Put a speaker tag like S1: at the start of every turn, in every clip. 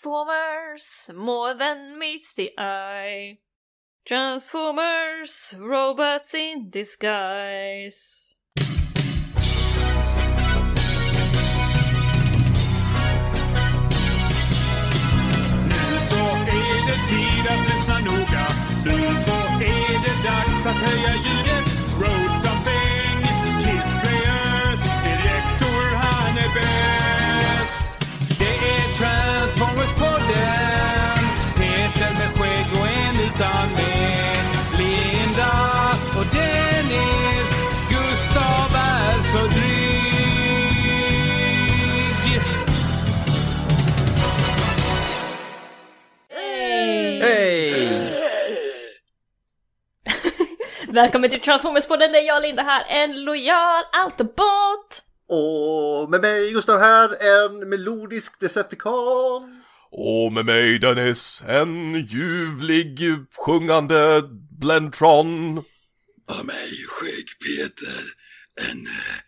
S1: Transformers, more than meets the eye. Transformers, robots in disguise.
S2: Nu så är det tid att lyssna noga. Nu så är det dags att höja ljudet. Roads of Fame, Kids Players, Direktor han är bäst. Det är Transformers-podden. Peter med skägg och en utan men. Linda och Dennis. Gustav är så dryg.
S1: Välkommen till Transformers-podden, det är jag Linda här, en lojal autobot!
S3: Och med mig Gustav här, en melodisk Decepticon.
S4: Och med mig Dennis, en ljuvlig sjungande Blendtron.
S5: Av mig, Skägg-Peter, en eh,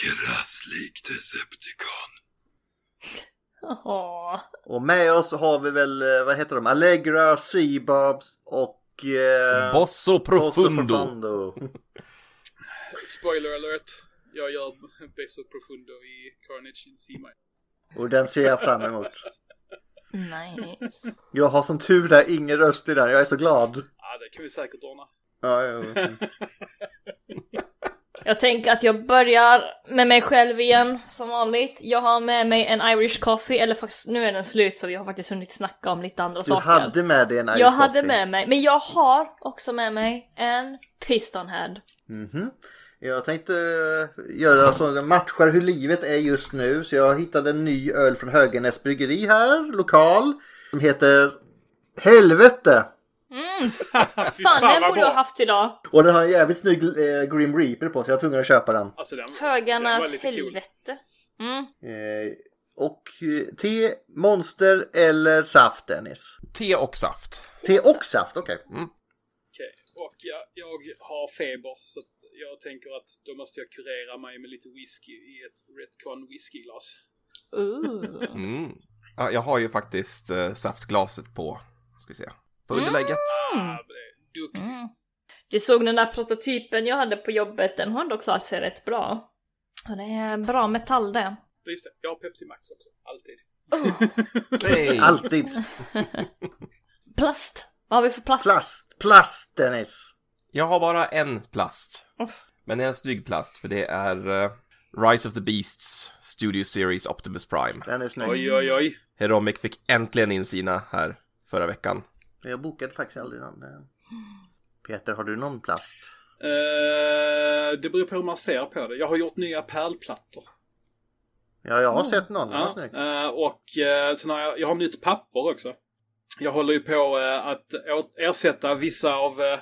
S5: krasslig Decepticon.
S1: Jaha.
S3: Och med oss har vi väl, eh, vad heter de, Allegra, Seabob och... Eh,
S4: Bosso
S3: Bosso
S4: Profundo.
S6: Spoiler alert. Jag gör Beso Profundo i Carnage in c minor.
S3: Och den ser jag fram emot.
S1: Nice.
S3: Jag har som tur där ingen röst i den, jag är så glad.
S6: Ah, det kan vi säkert ordna.
S3: Ja, ja, ja.
S1: Jag tänker att jag börjar med mig själv igen, som vanligt. Jag har med mig en Irish coffee, eller faktiskt, nu är den slut för vi har faktiskt hunnit snacka om lite andra
S3: Du
S1: saker.
S3: hade med dig en Irish
S1: jag hade
S3: coffee.
S1: med mig, men jag har också med mig en Pistonhead.
S3: Mhm. Jag tänkte eh, göra så jag matchar hur livet är just nu. Så jag hittade en ny öl från Höganäs bryggeri här, lokal. Som heter Helvete.
S6: Fy
S1: Fan, den
S6: vad
S1: borde jag
S6: bra.
S1: haft idag!
S3: Och den har en jävligt snygg eh, Grim Reaper på sig, jag var tvungen att köpa den.
S6: Alltså, den, den var
S1: Högarnas
S6: lite cool.
S1: helvete. Mm.
S3: Eh, och eh, te, monster eller saft Dennis?
S4: Te och saft.
S3: Te och saft, okej.
S6: Okej. Och jag, jag har feber, så att jag tänker att då måste jag kurera mig med lite whisky i ett Retcon whiskyglas.
S1: Ooh.
S4: Mm. Ja, jag har ju faktiskt eh, saftglaset på, ska vi se, på underlägget.
S6: Ah, det är duktigt.
S1: Mm. Du såg den där prototypen jag hade på jobbet, den har ändå klarat sig rätt bra. Och det är bra metall det.
S6: Just det, jag har Pepsi Max också. Alltid.
S4: Hey.
S3: Alltid.
S1: Plast! Vad har vi för plast?
S3: Plast, plast Dennis.
S4: Jag har bara en plast. Men det är en snygg plast, för det är eh, Rise of the Beasts Studio Series Optimus Prime.
S3: Den är snygg.
S6: Oj, oj, oj.
S4: Heromic fick äntligen in sina här förra veckan.
S3: Jag bokade faktiskt aldrig någon. eh. Peter, har du någon plast?
S6: Eh, det beror på hur man ser på det. Jag har gjort nya pärlplattor.
S3: Ja, jag har sett någon. Den var
S6: Ja,
S3: snygg.
S6: eh, och eh, sen har jag, jag har nytt papper också. Jag håller ju på eh, att å- ersätta vissa av eh,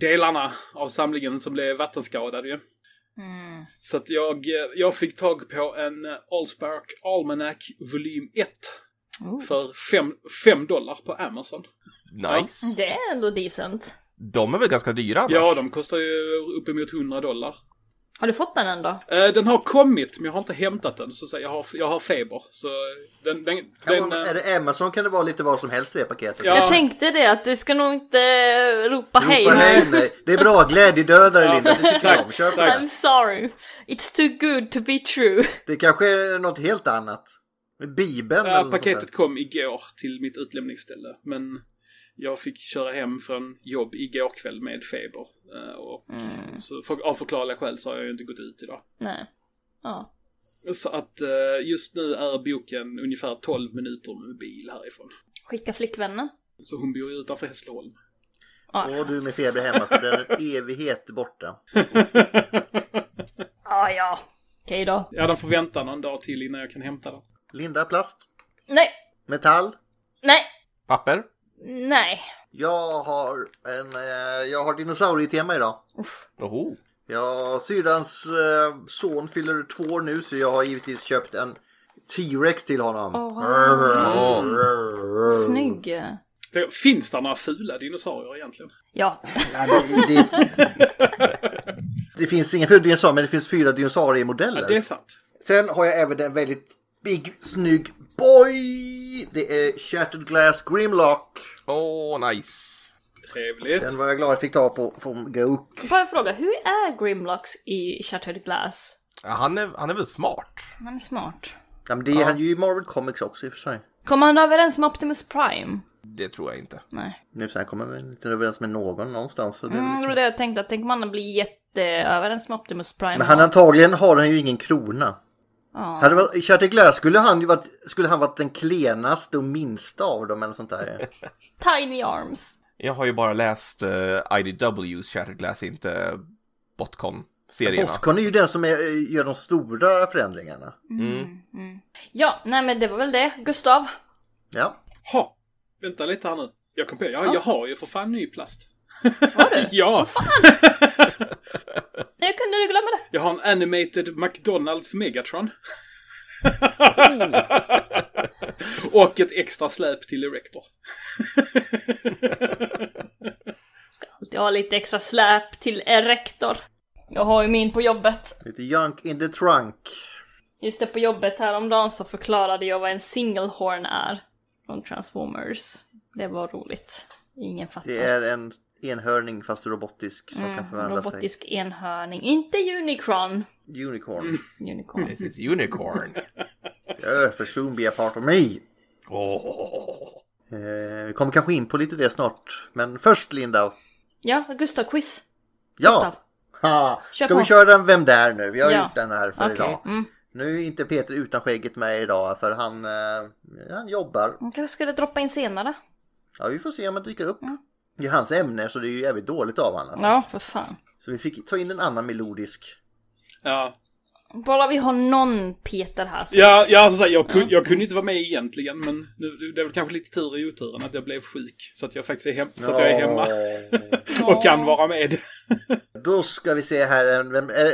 S6: delarna av samlingen som blev vattenskadade ju.
S1: Mm.
S6: Så att jag, eh, jag fick tag på en eh, Allspark Almanac volym 1 för 5 dollar på Amazon.
S4: Nice.
S1: Det är ändå decent.
S4: De är väl ganska dyra? annars?
S6: Ja, de kostar ju uppemot 100 dollar.
S1: Har du fått den än då?
S6: Eh, den har kommit, men jag har inte hämtat den. Så att säga, jag, har, jag har feber. Så den... den,
S3: Kan
S6: den
S3: vara,
S6: eh,
S3: är det Amazon kan det vara lite vad som helst i det paketet.
S6: Ja.
S1: Jag tänkte det, att du ska nog inte eh, ropa hej.
S3: Ropa hej nej. Det är bra, glädjedödare Linda. Det tycker jag om. Kör på
S6: tack.
S3: det.
S1: I'm sorry. It's too good to be true.
S3: Det kanske är något helt annat. Bibeln
S6: Ja,
S3: något
S6: paketet
S3: sånt
S6: kom igår till mitt utlämningsställe. Men jag fick köra hem från jobb igår kväll med feber. Eh, Och så för, av förklarliga skäl så har jag ju inte gått ut idag.
S1: Nej. Ja.
S6: Så att eh, just nu är boken ungefär 12 minuter med bil härifrån.
S1: Skicka flickvännen.
S6: Så hon bor ju utanför Hässleholm.
S1: Ja,
S3: där. Och du med feber hemma så den är en evighet borta.
S1: ah, ja. Okej då.
S6: Ja, den får vänta någon dag till innan jag kan hämta den.
S3: Linda, plast?
S1: Nej,
S3: Metall?
S1: nej,
S4: Papper?
S1: nej.
S3: Jag har en, eh, jag har dinosaurietema idag.
S4: Oho.
S3: Ja, syrrans eh, son fyller två år nu så jag har givetvis köpt en T-Rex till honom.
S1: Åh, wow.
S3: Rrrr.
S1: Snygg.
S6: Det, finns det några fula dinosaurier egentligen?
S1: Ja.
S3: Ja, det, det, det finns ingen ful dinosaurie men det finns fyra
S6: Ja, det är
S3: dinosauriemodeller.
S6: sant.
S3: Sen har jag även en väldigt big, snygg boy Three. Det är Shattered Glass Grimlock.
S4: Åh, nice.
S6: Trevligt.
S3: Den var jag glad jag fick ta på från Gook.
S1: Bara en fråga, hur är Grimlocks i Shattered Glass?
S4: Ja, Han är, han är väl smart?
S1: Han är smart.
S3: Ja, men det är han ju i Marvel Comics också i och för sig.
S1: Kommer han överens med Optimus Prime?
S4: Det tror jag inte.
S1: Nej.
S3: Nu sen kommer vi inte överens med någon någonstans. Så det är
S1: Mm, det
S3: liksom...
S1: var det jag tänkte, att tänk om han blir jätteöverens med Optimus Prime.
S3: Men han antagligen har han ju ingen krona.
S1: ja.
S3: Hade det varit, i Shattered Glass skulle han ju varit, skulle han varit den klenaste och minsta av dem eller sånt där.
S1: Tiny Arms.
S4: Jag har ju bara läst eh, IDW's Shattered Glass, inte Botcon-serierna.
S3: Botcon är ju den som är, gör de stora förändringarna.
S1: Ja, nej men det var väl det. Gustav?
S3: Ja.
S6: Ha! Vänta lite här nu. Jag kom på, ja, jag har ju för fan ny plast.
S1: Har du?
S6: Ja,
S1: Jag kunde du glömma det?
S6: jag har en animated McDonalds Megatron. Och ett extra släp till Erector.
S1: Alltid ha lite extra släp till rektor. Jag har ju min på jobbet.
S3: Lite junk in the trunk.
S1: Just det, på jobbet häromdagen så förklarade jag vad en singlehorn är. Från Transformers. Det var roligt. Ingen fattar.
S3: Det är en enhörning fast robotisk som kan förvandla sig.
S1: Mm, Robotisk enhörning. Inte Unicron.
S3: Unicorn.
S1: Unicorn.
S3: Mm.
S4: This is Unicorn.
S3: Gör för soon be a part of me.
S4: Åh.
S3: Eh, vi kommer kanske in på lite det snart. Men först Linda.
S1: Ja, Gustav quiz.
S3: Ja!
S1: Gustav.
S3: Ha.
S1: Kör
S3: Ska
S1: på.
S3: vi köra den Vem där nu? Vi har
S1: Ja.
S3: gjort den här för
S1: Okej,
S3: idag.
S1: mm.
S3: Nu är inte Peter utan skägget med idag för han, eh, han jobbar.
S1: Man kanske skulle droppa in senare.
S3: Ja, vi får se om han dyker upp. Det är hans ämne så det är ju jävligt dåligt av honom. Alltså.
S1: Mm. Ja, för fan.
S3: Så vi fick ta in en annan melodisk.
S6: Ja,
S1: Bara vi har någon Peter här. Så...
S6: ja, ja alltså, så här, jag, kun, jag kunde inte vara med egentligen, men nu, det är väl kanske lite tur i oturen att jag blev sjuk. Så att jag faktiskt är, hem, så att jag är hemma och kan vara med.
S3: Då ska vi se här. en- Vem, eh, eh,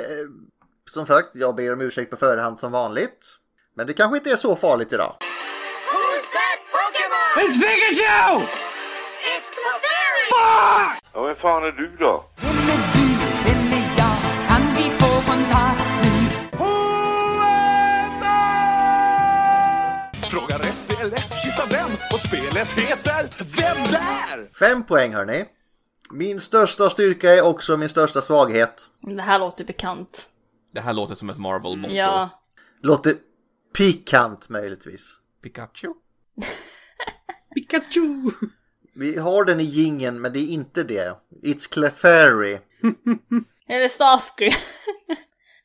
S3: som sagt, jag ber om ursäkt på förhand som vanligt. Men det kanske inte är så farligt idag.
S7: Who's that Pokemon? It's Pikachu! It's Clefairy!
S8: Ja, vem fan är du då?
S9: Vem är du? Vem är jag? Kan vi få kontakt nu?
S2: Fråga rätt är lätt, gissa vem? Och spelet heter Vem där?
S3: Fem poäng hörni. Min största styrka är också min största svaghet.
S1: Det här låter bekant.
S4: Det här låter som ett Marvel-motto.
S1: Ja.
S3: Låter pikant möjligtvis.
S4: Pikachu?
S6: Pikachu!
S3: Vi har den i gingen men det är inte det. It's Clefairy.
S1: Eller Starscream.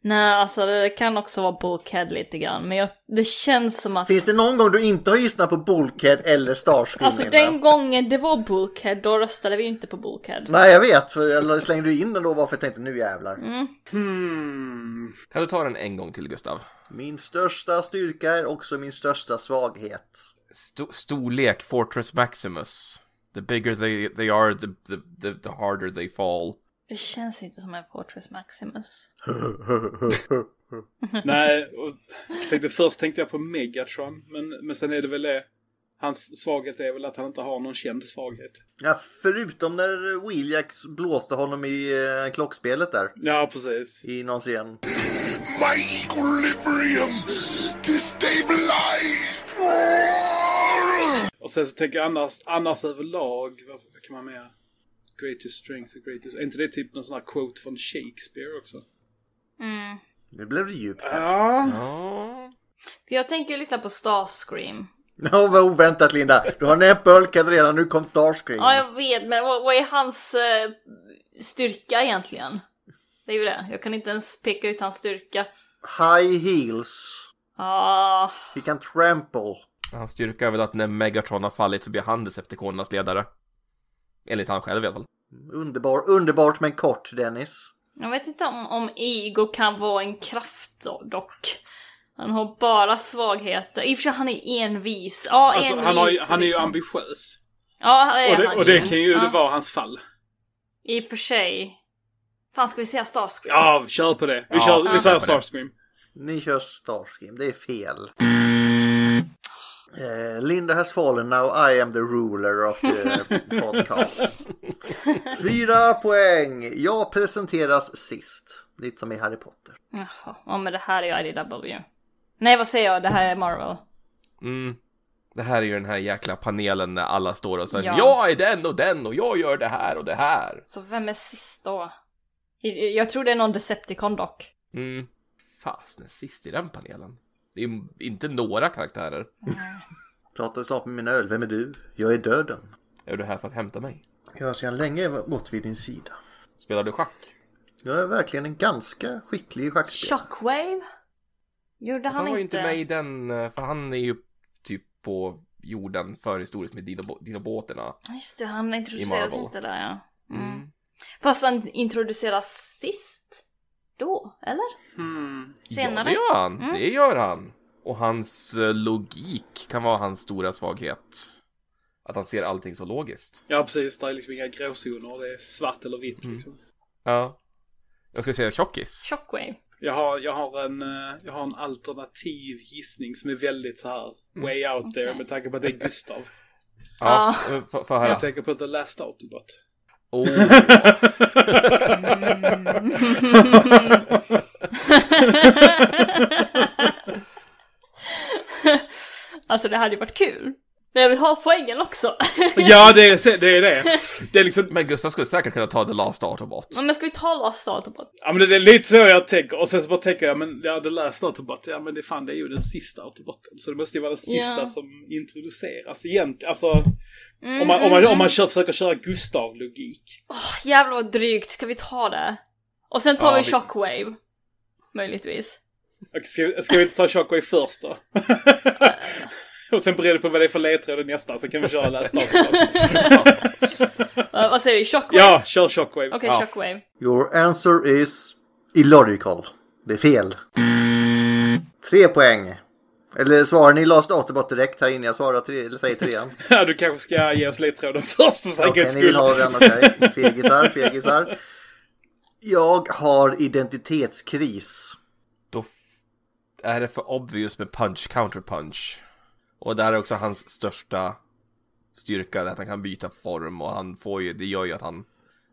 S1: Nej, alltså det kan också vara Bulkhead lite grann. Men jag, det känns som att...
S3: Finns det någon gång du inte har gissnat på Bulkhead eller Starscream?
S1: Alltså
S3: Linda?
S1: den gången det var Bulkhead, då röstade vi ju inte på Bulkhead.
S3: Nej jag vet, för jag slängde in den då bara för jag tänkte nu jävlar.
S4: Kan du ta den en gång till, Gustav?
S3: Min största styrka är också min största svaghet.
S4: Sto- storlek, Fortress Maximus. The bigger they, they are, the, the, the, the harder they fall.
S1: Det känns inte som en Fortress Maximus.
S6: Nej, och jag tänkte, först tänkte jag på Megatron, men, men sen är det väl det. Hans svaghet är väl att han inte har någon känd svaghet.
S3: Ja, förutom när Wheeljack blåste honom i eh, klockspelet där.
S6: Ja, precis.
S3: I någon scen.
S5: My equilibrium destabilized!
S6: Och sen så tänker jag annars, annars överlag, vad, vad kan man med? Greatest strength, the greatest... Är inte det typ någon sån här quote från Shakespeare också?
S3: Nu blev det djupt.
S6: Ja.
S4: Ja.
S1: För jag tänker ju lite på
S6: Mm.
S1: Starscream.
S3: Ja, vad oväntat Linda. Du har nämnt Bulkhead redan, nu kom Starscream.
S1: Ja, jag vet, men vad, vad är hans eh, styrka egentligen? Det är ju det. Jag kan inte ens peka ut hans styrka.
S3: High heels.
S1: Ah,
S3: He can trample.
S4: Hans styrka är väl att när Megatron har fallit så blir han Decepticonernas ledare. Enligt han själv i alla fall.
S3: Underbar, underbart men kort Dennis.
S1: jag vet inte om, om Ego kan vara en kraft då, dock. Han har bara svagheter. I och för sig, han är envis. Ja,
S6: Alltså,
S1: envis.
S6: han, har, ju- han är ju
S1: liksom.
S6: ambitiös.
S1: Ja, det är
S6: Och det,
S1: han
S6: och det kan ju
S1: Ja.
S6: det vara hans fall.
S1: I och för sig. Fan, ska vi säga Starscream?
S6: Ja, kör på det. Vi,
S4: Ja,
S6: kör, vi
S4: ja.
S6: säger
S4: på det.
S6: Starscream.
S3: Ni kör Starscream, det är fel. Eh, Linda has fallen now, I am the ruler of the podcast. Fyra poäng. Jag presenteras sist. Lite som i Harry Potter.
S1: Jaha, ja men det här är ju IDW. Nej vad säger jag, det här är Marvel.
S4: Mm. Det här är ju den här jäkla panelen när alla står och säger
S1: Ja.
S4: Jag är den och den och jag gör det här och det här.
S1: Så vem är sist då? I- Jag tror det är någon Decepticon dock.
S4: Mm. Fasen, är sist i den panelen. Det är ju inte några karaktärer.
S3: Pratar snart med min öl. Vem är du? Jag är döden.
S4: Är du här för att hämta mig?
S3: Jag har sedan länge varit vid din sida.
S4: Spelar du schack?
S3: Jag är verkligen en ganska skicklig schackspelare.
S1: Shockwave? Gjorde
S4: Han,
S1: han,
S4: var ju
S1: inte?
S4: inte med i den, eh, för han är ju typ på jorden förhistoriskt med dinobo- dinobåterna.
S1: Ja, Just det, han introduceras
S4: Marvel.
S1: inte där ja. Mm.
S4: Mm.
S1: Fast han introduceras sist? Då, eller?
S6: Hmm.
S1: Senare? Mm.
S4: Ja, det gör han. Det gör han. Och hans eh, logik kan vara hans stora svaghet. Att han ser allting så logiskt.
S6: Ja, precis. Det är liksom inga gråzoner. Det är svart eller vitt liksom.
S4: Ja. Jag skulle säga tjockis.
S1: Shockwave.
S6: Jag har, jag, har en, eh, jag har en alternativ gissning som är väldigt så här way out there med tanke på att det är Gustav.
S4: Ja, eh, få- få höra.
S6: Jag tänker på The Last Autobot.
S4: Oh,
S1: Alltså det hade ju varit kul. Men jag vill ha poängen också.
S6: ja, det är det. Är det. det är liksom,
S4: men Gustav skulle säkert kunna ta The Last Autobot.
S1: Ja, Men ska vi ta Last Autobot?
S6: ja, men det är lite så jag tänker. Och sen så bara tänker jag, men ja, The Last Autobot, ja men det, fan, det är ju den sista Autoboten. Så det måste ju vara den sista
S1: Ja.
S6: som introduceras egentligen. Alltså, om
S1: Mm-hmm.
S6: man, om man, om man kör, försöker köra Gustav-logik.
S1: Mm. Jävlar vad drygt, ska vi ta det? Och sen tar
S4: Ja,
S1: vi
S4: vi-
S1: Shockwave. Möjligtvis.
S6: Okej, Ska, ska vi inte ta Shockwave först då? Och sen beror det på vad det är för ledtråd i nästa, så kan vi köra Last Autobot.
S1: Eh, vad säger du? Shockwave?
S6: Ja, kör Shockwave.
S1: Okej,
S4: Ja.
S1: Shockwave.
S3: Your answer is illogical. Det är fel. Tre poäng. Eller svarar ni Last Autobot direkt här innan jag svarar tre, eller säger trean?
S6: Ja, du kanske ska ge oss ledtråden först för
S3: Okej,
S6: säkerhets
S3: ni vill
S6: skull.
S3: ha den, okej. Fegisar, fegisar. Jag har identitetskris.
S4: Då f- är det för obvious med punch, counter punch. Och där är också hans största styrka, det att han kan byta form och han får ju, det gör ju att han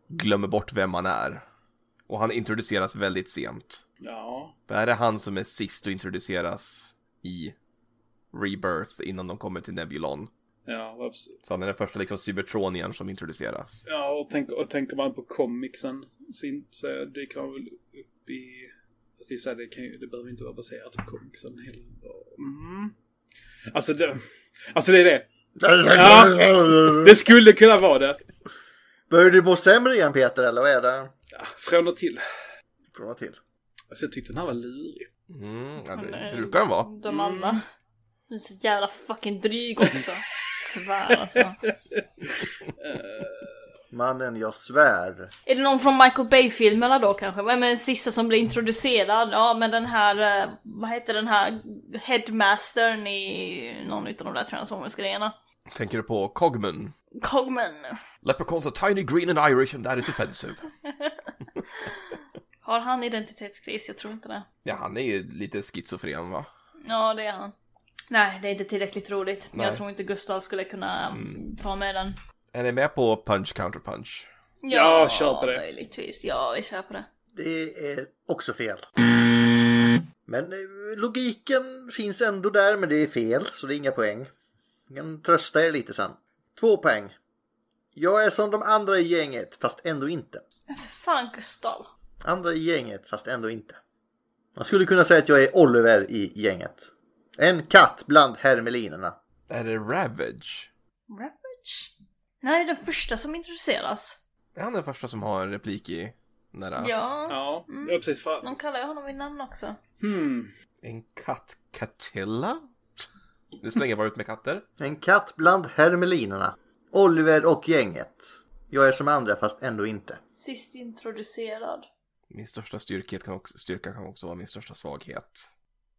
S4: glömmer bort vem han är. Och han introduceras väldigt sent.
S6: Ja.
S4: Det här är han som är sist och introduceras i Rebirth innan de kommer till Nebulon.
S6: Ja, absolut.
S4: Så han är den första liksom Cybertronian som introduceras.
S6: ja och, tänk, och tänker man på comicsen så, in, så det kan väl upp i... Fast det, är så här, det, kan ju, det behöver inte vara baserat på comicsen heller. Mm. Alltså, det, alltså det är det. Ja. Det skulle kunna vara det.
S3: Börjar du må sämre igen Peter, eller vad är det?
S6: Från och till.
S3: Från och till.
S6: Alltså jag tyckte den här var lurig.
S4: Mm, ja, det
S1: är-
S4: brukar den vara.
S1: De andra. Du är så jävla fucking dryg också. Svär alltså.
S3: Mannen, jag svär.
S1: Är det någon från Michael Bay-filmerna då kanske? Vem är den sista som blir introducerad? Ja men den här, eh, vad heter den här headmastern i någon utav de där Transformers-grejerna?
S4: Tänker du på Cogmun?
S1: Cogman.
S4: Leprechauns are tiny, green and Irish and that is offensive.
S1: Har han identitetskris? Jag tror inte det.
S4: Ja, han är ju lite schizofren va?
S1: Ja det är han. Nej det är inte tillräckligt roligt. Men Jag
S4: Nej.
S1: tror inte Gustav skulle kunna mm, ta med den.
S4: Är ni med på punch counter punch?
S6: Ja, kör på det.
S1: Möjligtvis, ja vi kör på det.
S3: Det är också fel. Men eh, logiken finns ändå där, men det är fel, så det är inga poäng. Jag kan trösta er lite sen. Två poäng. Jag är som de andra i gänget, fast ändå inte.
S1: Fan Gustav.
S3: Andra i gänget, fast ändå inte. Man skulle kunna säga att jag är Oliver i gänget. En katt bland hermelinerna.
S4: Är det Ravage?
S1: Ravage? Nej, den första som introduceras.
S4: Är han den första som har en replik i nära?
S1: Ja.
S6: Ja, ja precis. För,
S1: De kallar ju honom vid namn också.
S6: hmm.
S4: En katt Catilla? Det är så länge jag varit med katter.
S3: En katt bland hermelinerna. Oliver och gänget. Jag är som andra, fast ändå inte.
S1: Sist introducerad.
S4: Min största styrkhet kan också, styrka kan också vara min största svaghet.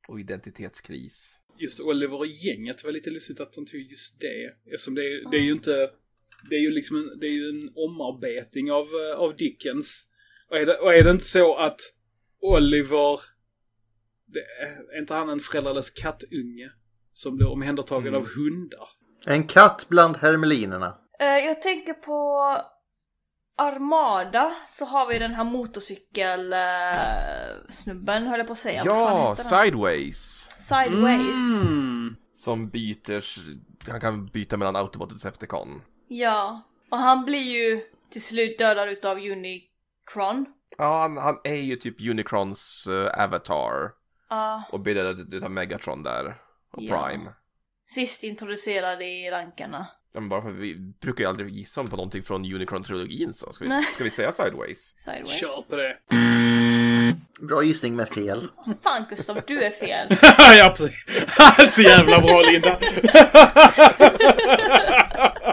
S4: Och identitetskris.
S6: Just Oliver och gänget var lite lustigt att de tog just det. Eftersom det, är- det är ju inte... Det är ju liksom en, det är ju en omarbetning av, eh, av Dickens. Och är, det, och är det inte så att Oliver... Det, är inte han en föräldralös kattunge? Som blir omhändertagen av hundar?
S3: En katt bland hermelinerna.
S1: Eh, jag tänker på Armada, så har vi den här motorcykelsnubben, snubben höll jag på att säga. Vad fan
S4: ja,
S1: heter han?
S4: Sideways!
S1: Sideways.
S6: Mm.
S4: Som byter s- han kan byta mellan Autobot och Decepticon.
S1: Ja. Och han blir ju till slut dödad utav Unicron.
S4: Ja, han, han är ju typ Unicrons eh, avatar.
S1: Ja.
S4: Och blir dödad utav Megatron där. Och
S1: Ja.
S4: Prime.
S1: Sist introducerad i rankarna.
S4: Ja, men bara för att vi brukar ju aldrig gissa om på någonting från Unicron-trilogin så. Ska vi,
S1: Nej.
S4: ska vi säga Sideways?
S1: Sideways.
S6: Kör på det.
S3: Bra gissning med fel.
S1: Fan Gustav, du är fel.
S6: ja, precis. Så jävla bra Linda.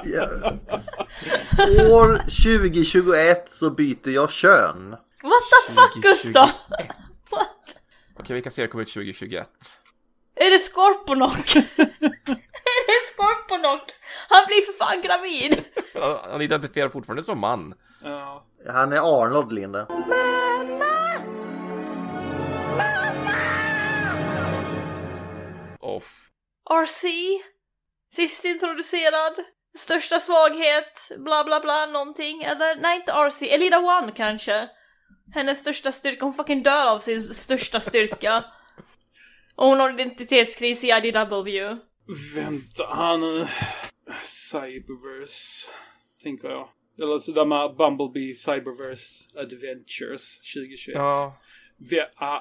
S3: Ja. År 2021 så byter jag kön.
S1: What the fuck Gustav? What?
S4: Okej, vilka serier kommer ut 2021?
S1: Är det Skorponok? är det Skorponok? Han blir för fan gravid!
S4: Ja, Han identifierar fortfarande som man.
S6: Ja.
S3: Han är Arnold, Linda.
S4: Off.
S1: RC? Sist introducerad? Största svaghet? Bla bla bla någonting? Eller nej inte RC, Elida One kanske? Hennes största styrka, hon fucking dör av sin största styrka. Och hon har identitetskris i IDW.
S6: Vänta här nu. Cyberverse, tänker jag. Eller så där med Bumblebee Cyberverse Adventures 2021.
S4: Ja.
S6: Vi, ah,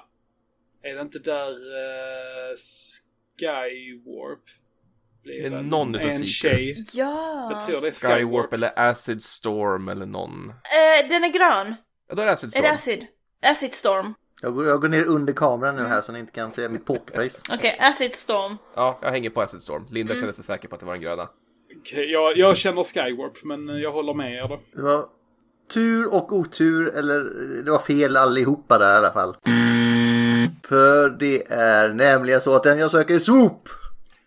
S6: är det inte där eh, Skywarp? Blir
S4: Det är någon utav
S6: En
S4: Seekers.
S6: tjej.
S1: Ja!
S6: Jag tror det är Skywarp.
S4: Skywarp eller Acid Storm eller någon.
S1: Eh, den är grön.
S4: Ja, då är det Acid
S1: Är
S4: Storm.
S1: det Acid? Acid Storm.
S3: Jag går, jag går ner under kameran nu här så ni inte kan se mitt pokerface.
S1: Okej, Acid Storm.
S4: Ja, jag hänger på Acid Storm. Linda
S1: Mm.
S4: känner sig säker på att det var den gröna.
S6: Okej, jag, jag känner Skywarp, men jag håller med er då.
S3: Det var tur och otur, eller det var fel allihopa där i alla fall. För det är nämligen så att den jag söker är Swoop!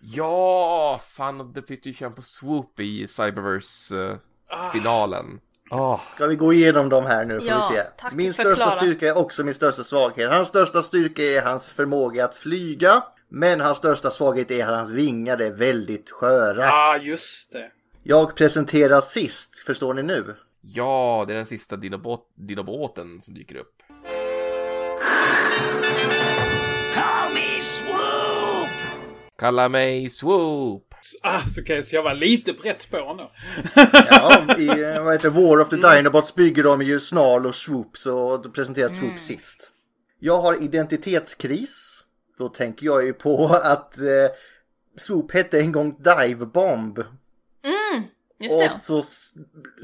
S4: Ja, fan det bytte ju kön på Swoop i eh, Cyberverse-finalen. ah.
S3: Ska vi gå igenom dem här nu får
S1: Ja,
S3: vi se.
S1: tack,
S3: min
S1: förklara.
S3: största styrka är också min största svaghet. Hans största styrka är hans förmåga att flyga. Men hans största svaghet är att hans vingar är väldigt sköra.
S6: Ah, just det.
S3: Jag presenterar sist, förstår ni nu?
S4: Ja, det är den sista dinobot- dinobåten som dyker upp. Kalla mig Swoop!
S6: Ah, så, okay, så jag var lite på rätt spår ändå.
S3: Ja, i eh, vad heter det, War of the Dinobots bygger de ju Snarl och Swoop så då presenteras Swoop sist. Jag har identitetskris. Då tänker jag ju på att eh, Swoop hette en gång Dive Bomb.
S1: Just
S3: Och
S1: det.
S3: så s-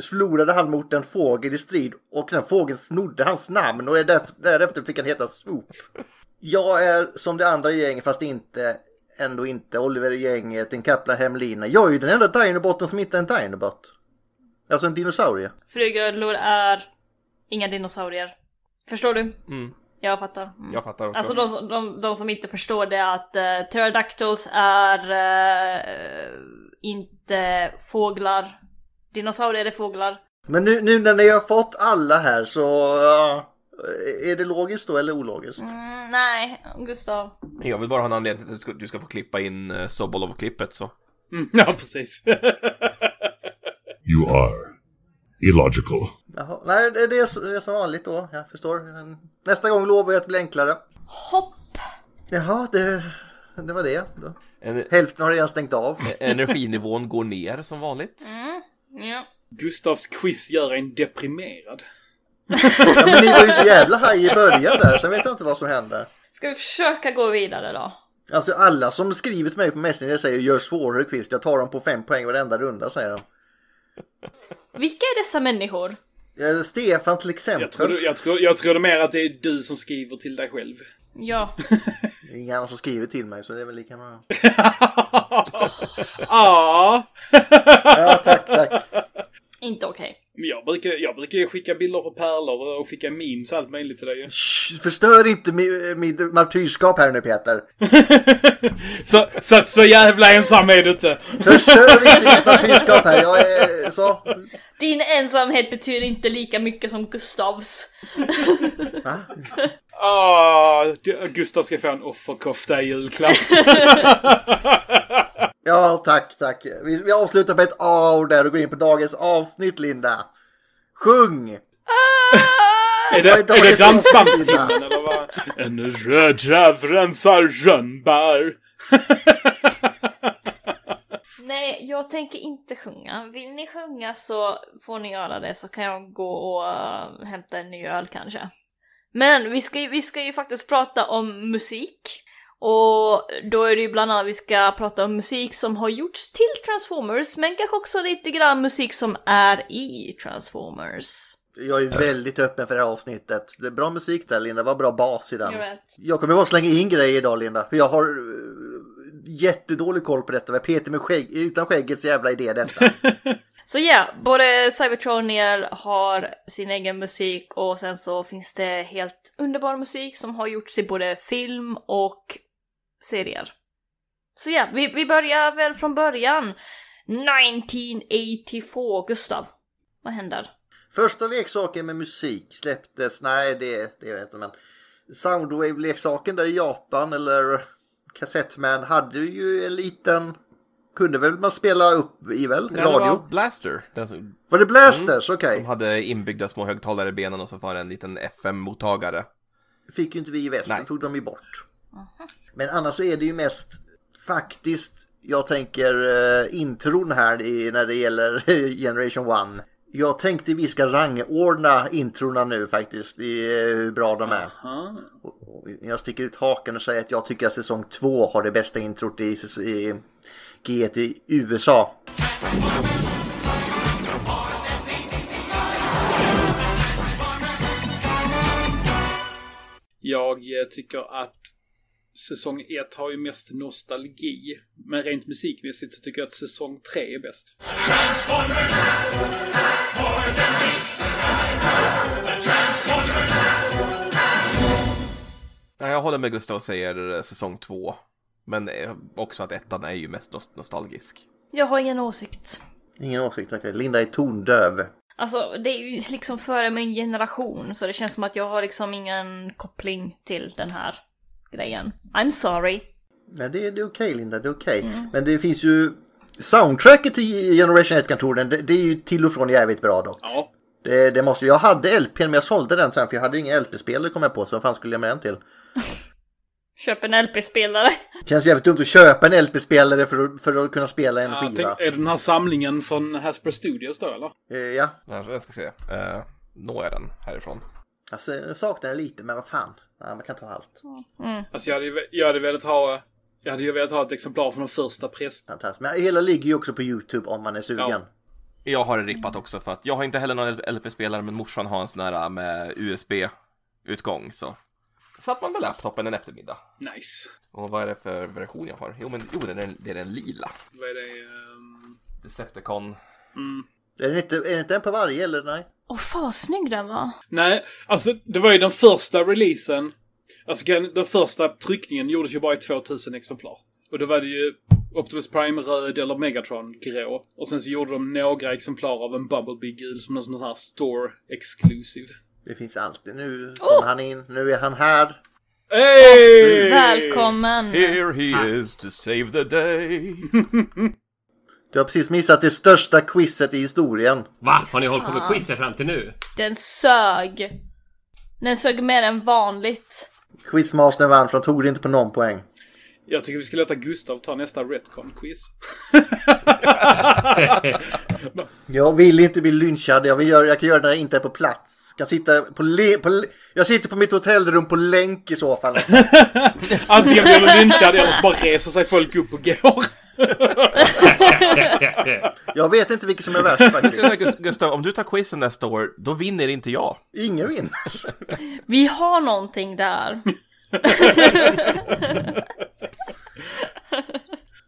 S3: förlorade han mot en fågel i strid och den fågeln snodde hans namn och är däref- därefter fick han heta Swoop. Jag är som det andra gänget fast inte, ändå inte Oliver i gänget, en Kaplan Hemlina. Jag är ju den enda Dinobotten som inte är en Dinobot. Alltså en dinosaurie.
S1: Flygödlor är inga dinosaurier. Förstår du?
S4: Mm.
S1: Jag fattar. Mm.
S4: Jag fattar också.
S1: Alltså de, som- de, de som inte förstår det är att uh, pterodactyls är eh, inte fåglar. Dinosaurier är fåglar.
S3: Men nu, nu när ni har fått alla här så... ja, är det logiskt då eller ologiskt?
S1: Mm, nej, Gustav.
S4: Jag vill bara ha en anledning till att du ska, du ska få klippa in eh, Sobolov-klippet så.
S6: Mm, ja, precis.
S5: You are illogical.
S3: Jaha. Nej, det det är, så- det är som vanligt då. Jag förstår. Nästa gång lovar jag att bli enklare.
S1: Hopp!
S3: Jaha, det, det var det. Då.
S4: En,
S3: Hälften har redan stängt av.
S4: energinivån går ner som vanligt.
S1: Mm. Ja.
S6: Gustavs quiz gör en deprimerad.
S3: Ja, men ni var ju så jävla haj i början där, så jag vet inte vad som hände.
S1: Ska vi försöka gå vidare då?
S3: Alltså alla som skrivit mig på Messenger säger gör svårare quiz, jag tar dem på fem poäng varenda runda säger de.
S1: Vilka är dessa människor?
S3: Eh, Stefan till
S6: Jag tror,
S3: exempel.
S6: jag, tror, jag tror det mer att det är du som skriver till dig själv.
S1: Ja.
S3: Det är Ingen annan som skriver till mig så det är väl lika bra.
S6: ah.
S3: Ja, tack, tack.
S1: inte okej.
S6: Men jag brukar, jag brukar ju skicka bilder på pärlor och skicka memes och allt möjligt till dig ju.
S3: Shh, förstör inte mi- mitt martyrskap här nu Peter.
S6: så, så att så jävla ensam är du inte.
S3: Förstör inte mitt martyrskap här, jag är så.
S1: Din ensamhet betyder inte lika mycket som Gustavs.
S3: Va?
S6: Ah, du- Gustav ska få en offerkofta i julklapp.
S3: Ja, tack, tack. Vi, vi avslutar med ett A där och går in på dagens avsnitt Linda. Sjung!
S6: Är det, är det dansbandstimen eller vad? En röd räv rensar rönnbär.
S1: Nej, jag tänker inte sjunga. Vill ni sjunga så får ni göra det så kan jag gå och eh, hämta en ny öl kanske. Men vi ska, ju- vi ska ju faktiskt prata om musik. Och då är det ju bland annat vi ska prata om musik som har gjorts till Transformers men kanske också lite grann musik som är i Transformers.
S3: Jag är väldigt öppen för det här avsnittet. Det är bra musik där Linda, vad bra bas i den.
S1: Jag vet.
S3: Jag kommer bara slänga in grejer idag Linda, för jag har eh, jättedålig koll på detta. Men Peter med skägg, utan skäggets jävla idé detta.
S1: Så ja, både Cybertronier har sin egen musik och sen så finns det helt underbar musik som har gjorts i både film och serier. Så ja, vi, vi börjar väl från början. 1982, Gustav. Vad händer?
S3: Första leksaken med musik släpptes, nej det, det vet jag inte men Soundwave-leksaken där i Japan eller Kassettman hade ju en liten kunde väl man spela upp i väl?
S4: Nej,
S3: Radio?
S4: Det
S3: Var...
S4: var Blaster. Den som,
S3: det Blasters? Okej.
S4: som hade inbyggda små högtalare i benen och så var det en liten FM-mottagare.
S3: Fick ju inte vi i väst,
S4: Nej.
S3: det tog de ju bort. Men annars så är det ju mest faktiskt, jag tänker eh, intron här i, när det gäller Generation 1. Jag tänkte vi ska rangordna introna nu faktiskt, i eh, hur bra de är.
S6: Aha.
S3: Och Jag sticker ut haken och säger att jag tycker att säsong 2 har det bästa introt i, säs- i G1 i USA.
S6: Jag eh, tycker att säsong 1 har ju mest nostalgi. Men rent musikmässigt så tycker jag att säsong 3 är bäst.
S4: Ja, jag håller med Gustav och säger eh, säsong två. Men eh, också att ettan är ju mest nos- nostalgisk.
S1: Jag har ingen åsikt.
S3: Ingen åsikt, okej. Linda är tondöv.
S1: Alltså, det är ju liksom före min generation så det känns som att jag har liksom ingen koppling till den här grejen. I'm sorry.
S3: Nej, det, det är okej Linda, det är okej. Men det finns ju... Soundtracket till Generation 1-kantoren, det, det är ju till och från jävligt bra dock.
S6: Ja,
S3: Det, det måste, jag hade LPn men jag sålde den sen för jag hade ju ingen LP-spelare kom jag på så vad fan skulle jag med den till?
S1: Köp en LP-spelare.
S3: Känns jävligt dumt att köpa en LP-spelare för, att- för att kunna spela en
S6: jag
S3: skiva.
S6: tänk, är det den här samlingen från Hasbro Studios då eller?
S3: Eh, Ja,
S4: Ja, Jag ska se. Eh, Når jag den härifrån?
S3: alltså jag saknar den lite men vad fan. Ja, man kan ta allt.
S6: Alltså jag hade, ju ve- jag hade velat ha... Jag hade ju velat ha ett exemplar från den första pressen.
S3: Fantastiskt. Men hela ligger ju också på YouTube om man är sugen.
S6: Ja.
S4: Jag har det rippat också för att jag har inte heller någon LP-spelare men morsan har en sån här eh, med USB-utgång så. Satt man med laptopen en eftermiddag.
S6: Nice.
S4: Och vad är det för version jag har? Jo men jo, det, är den, det är den lila.
S6: Vad är det? ehm,
S4: Decepticon.
S3: Är, det inte, är det inte en på varje eller nej?
S1: Åh fan vad snygg den var.
S6: Nej, alltså det var ju den första releasen. Alltså grejen- den första tryckningen gjordes ju bara i 2000 exemplar. Och då var det ju Optimus Prime röd eller Megatron grå. Och sen så gjorde de några exemplar av en Bumblebee gul som någon sån här store exclusive.
S3: Det finns alltid. Nu kommer han in, nu är han här.
S6: Hey!
S1: Välkommen!
S4: Here he is to save the day.
S3: Du har precis missat det största quizet i historien.
S10: Va? Har ni hållit på med quiz här fram till nu?
S1: Den sög! Den sög mer än vanligt.
S3: Quizmastern vann för de tog det inte på någon poäng.
S6: Jag tycker vi ska låta Gustav ta nästa Retcon-quiz.
S3: Jag vill inte bli lynchad. Jag, vill göra, jag kan göra det när jag inte är på plats. Jag, kan sitta på le, på, le- jag sitter på mitt hotellrum på länk i så fall.
S6: Antingen blir du lynchad eller så bara reser sig folk upp och går.
S3: Jag vet inte vilket som är värst faktiskt.
S4: Så, Gus- Gustav, om du tar quizen nästa år, då vinner inte jag.
S3: Ingen vinner.
S1: Vi har någonting där.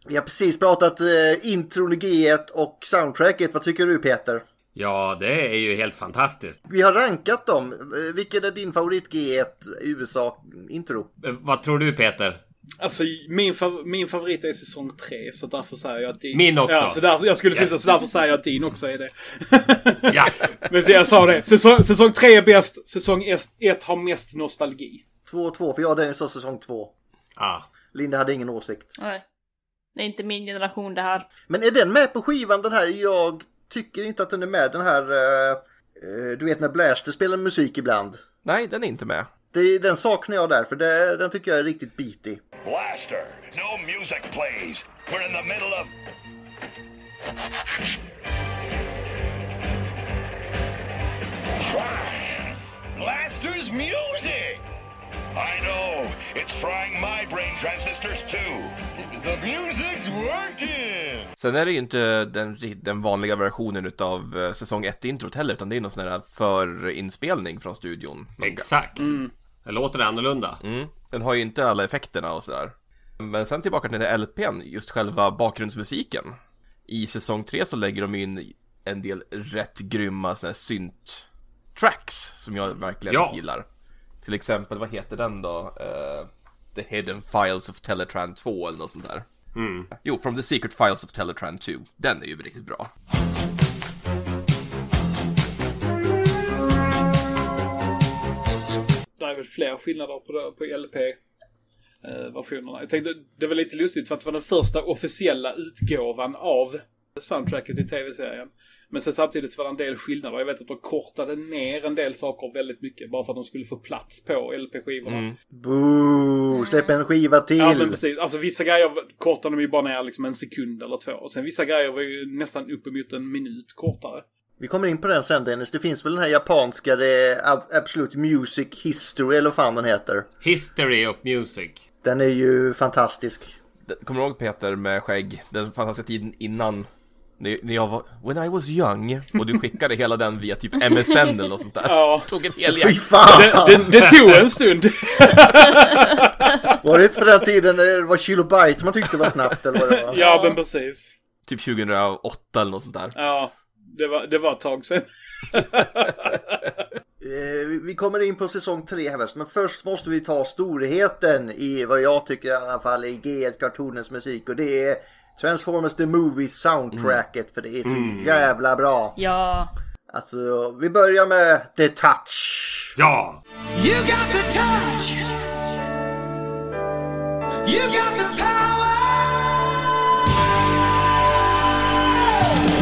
S3: Vi har precis pratat eh, intron i G1 och soundtracket. Vad tycker du Peter?
S10: Ja, det är ju helt fantastiskt.
S3: Vi har rankat dem. Eh, Vilken är din favorit G1 USA-intro?
S10: Eh, Vad tror du Peter?
S6: Alltså min, fav min favorit är säsong 3, så därför säger jag att din...
S10: Min också.
S6: Ja, så därför, jag skulle tillstå,
S10: Yes.
S6: så därför säger jag att din också är det.
S10: Ja!
S6: Men så jag sa det, säsong, säsong 3 är bäst, säsong 1 har mest nostalgi.
S3: 2-2, för jag och Dennis sa säsong 2.
S10: Ah.
S3: Linda hade ingen åsikt.
S1: Nej. Det är inte min generation det här.
S3: Men är den med på skivan den här? Jag tycker inte att den är med den här... eh, eh, du vet när Blaster spelar musik ibland.
S4: Nej, den är inte med.
S3: Det, den saknar jag där, för det, den tycker jag är riktigt bitig.
S11: Blaster, no music plays. We're in the middle of Blasters music! I know, it's frying my brain transistors too. The music's working!
S4: Sen är det ju inte den, den vanliga versionen utav eh, säsong 1-introt heller, utan det är någon sån här förinspelning från studion.
S10: Exakt. Mm. Det låter annorlunda.
S4: Mm. Den har ju inte alla effekterna och sådär. Men sen tillbaka till den där LPn, just själva bakgrundsmusiken. I säsong 3 så lägger de in en del rätt grymma såna här synt-tracks som jag verkligen
S10: Ja.
S4: gillar. Till exempel, vad heter den då? Eh, the Hidden Files of Teletran 2 eller något sånt där.
S10: Mm.
S4: Jo, From the Secret Files of Teletran 2. Den är ju riktigt bra.
S6: Det är väl fler skillnader på, på LP-versionerna. Jag tänkte, det var lite lustigt för att det var den första officiella utgåvan av soundtracket i tv-serien. Men sen samtidigt var det en del skillnader. Jag vet att de kortade ner en del saker väldigt mycket bara för att de skulle få plats på LP-skivorna.
S3: Boo! Släpp en skiva till!
S6: Mm. Ja, men precis. Alltså vissa grejer kortade de ju bara ner liksom en sekund eller två. Och sen vissa grejer var ju nästan uppemot en minut kortare.
S3: Vi kommer in på den sen Dennis. Det finns väl den här japanska det är Ab- Absolute Music History eller vad fan den heter.
S10: History of Music.
S3: Den är ju fantastisk.
S4: Den- Kommer du ihåg Peter med skägg? Den fantastiska tiden innan. När när jag var, when I was young. Och du skickade hela den via typ MSN eller något sånt där.
S6: Ja.
S4: Tog en hel
S3: Fy
S4: jäkla-
S3: fan!
S6: Det, det, det tog en stund.
S3: Var det inte på den tiden när det var kilobyte man tyckte var snabbt eller vad det var?
S6: Ja, men precis.
S4: Typ 2008 eller något sånt där.
S6: Ja, det var, det var ett tag sedan.
S3: Eh, vi- Vi kommer in på säsong tre här först, men först måste vi ta storheten i vad jag tycker i alla fall i G1 Kartonens musik och det är Transformers The Movie soundtracket
S6: Mm.
S3: för det är så jävla bra.
S1: Ja.
S3: Alltså, vi börjar med The Touch.
S10: Ja!
S7: You got the touch. You got the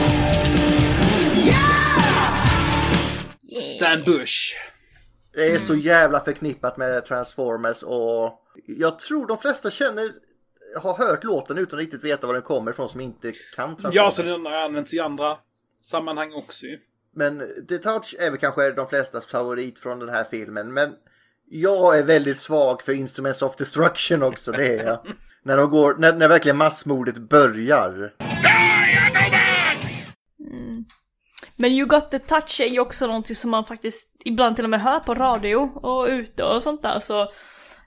S7: power.
S6: Stan Bush.
S3: Det är
S6: Mm.
S3: så jävla förknippat med Transformers och jag tror de flesta känner har hört låten utan riktigt veta var den kommer ifrån som inte kan Transformers.
S6: Ja, så den har använts i andra sammanhang också ju.
S3: Men The Touch är väl kanske de flestas favorit från den här filmen. Men jag är väldigt svag för Instruments of Destruction också, det är jag. när, de går, när, när verkligen massmordet börjar.
S1: Men You Got The Touch är ju också någonting som man faktiskt ibland till och med hör på radio och ute och sånt där så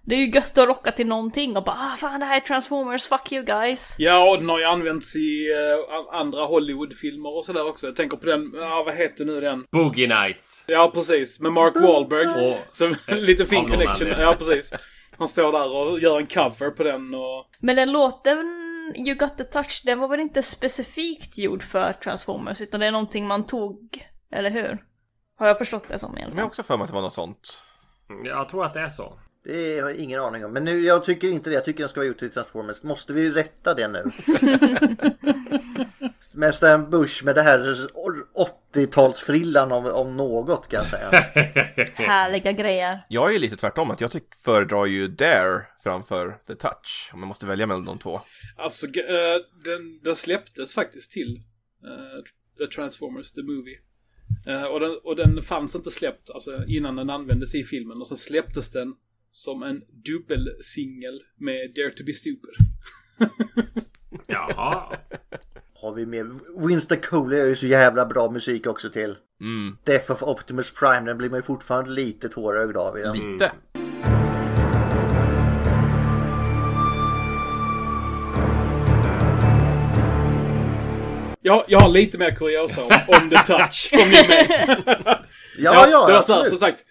S1: det är ju gött att rocka till någonting och bara ah, fan det här är Transformers, fuck you guys.
S6: Ja, och den har ju använts i eh, an- andra Hollywoodfilmer och sådär också. Jag tänker på den, ja vad heter nu den?
S10: Boogie Nights.
S6: Ja, precis. Med Mark Wahlberg. Så, lite fin
S10: Av någon
S6: connection.
S10: anledning.
S6: Ja, precis. Han står där och gör en cover på den och...
S1: Men den låten You Got The Touch den var väl inte specifikt gjord för Transformers utan det är någonting man tog, eller hur? Har jag förstått det som i alla
S4: Men jag har
S1: fall.
S4: också för mig att det var något sånt.
S10: Mm, Jag tror att det är så.
S3: Det har jag ingen aning om. Men nu, jag tycker inte det. Jag tycker den ska vara gjord till Transformers. Måste vi rätta det nu? med Stan Bush med det här 80-talsfrillan om, om något kan jag säga.
S1: Härliga grejer.
S4: Jag är ju lite tvärtom, att jag tyck, föredrar ju Dare framför The Touch. Om jag måste välja mellan de två.
S6: Alltså, g- eh, den, den släpptes faktiskt till eh, The Transformers, The Movie. Eh, och, den, och den fanns inte släppt alltså, innan den användes i filmen. Och sen släpptes den som en dubbelsingel med Dare To Be Stupid.
S10: Jaha.
S3: Har vi med Winston Cooley gör ju så jävla bra musik också till.
S4: Mm,
S3: Death of Optimus Prime, den blir man ju fortfarande lite tårögd av. Ja.
S4: lite.
S6: Jag, jag har lite mer kuriosa om, om The Touch, om ni är med.
S3: Ja, ja,
S6: det var så alltså- här,
S3: absolut.
S6: som sagt.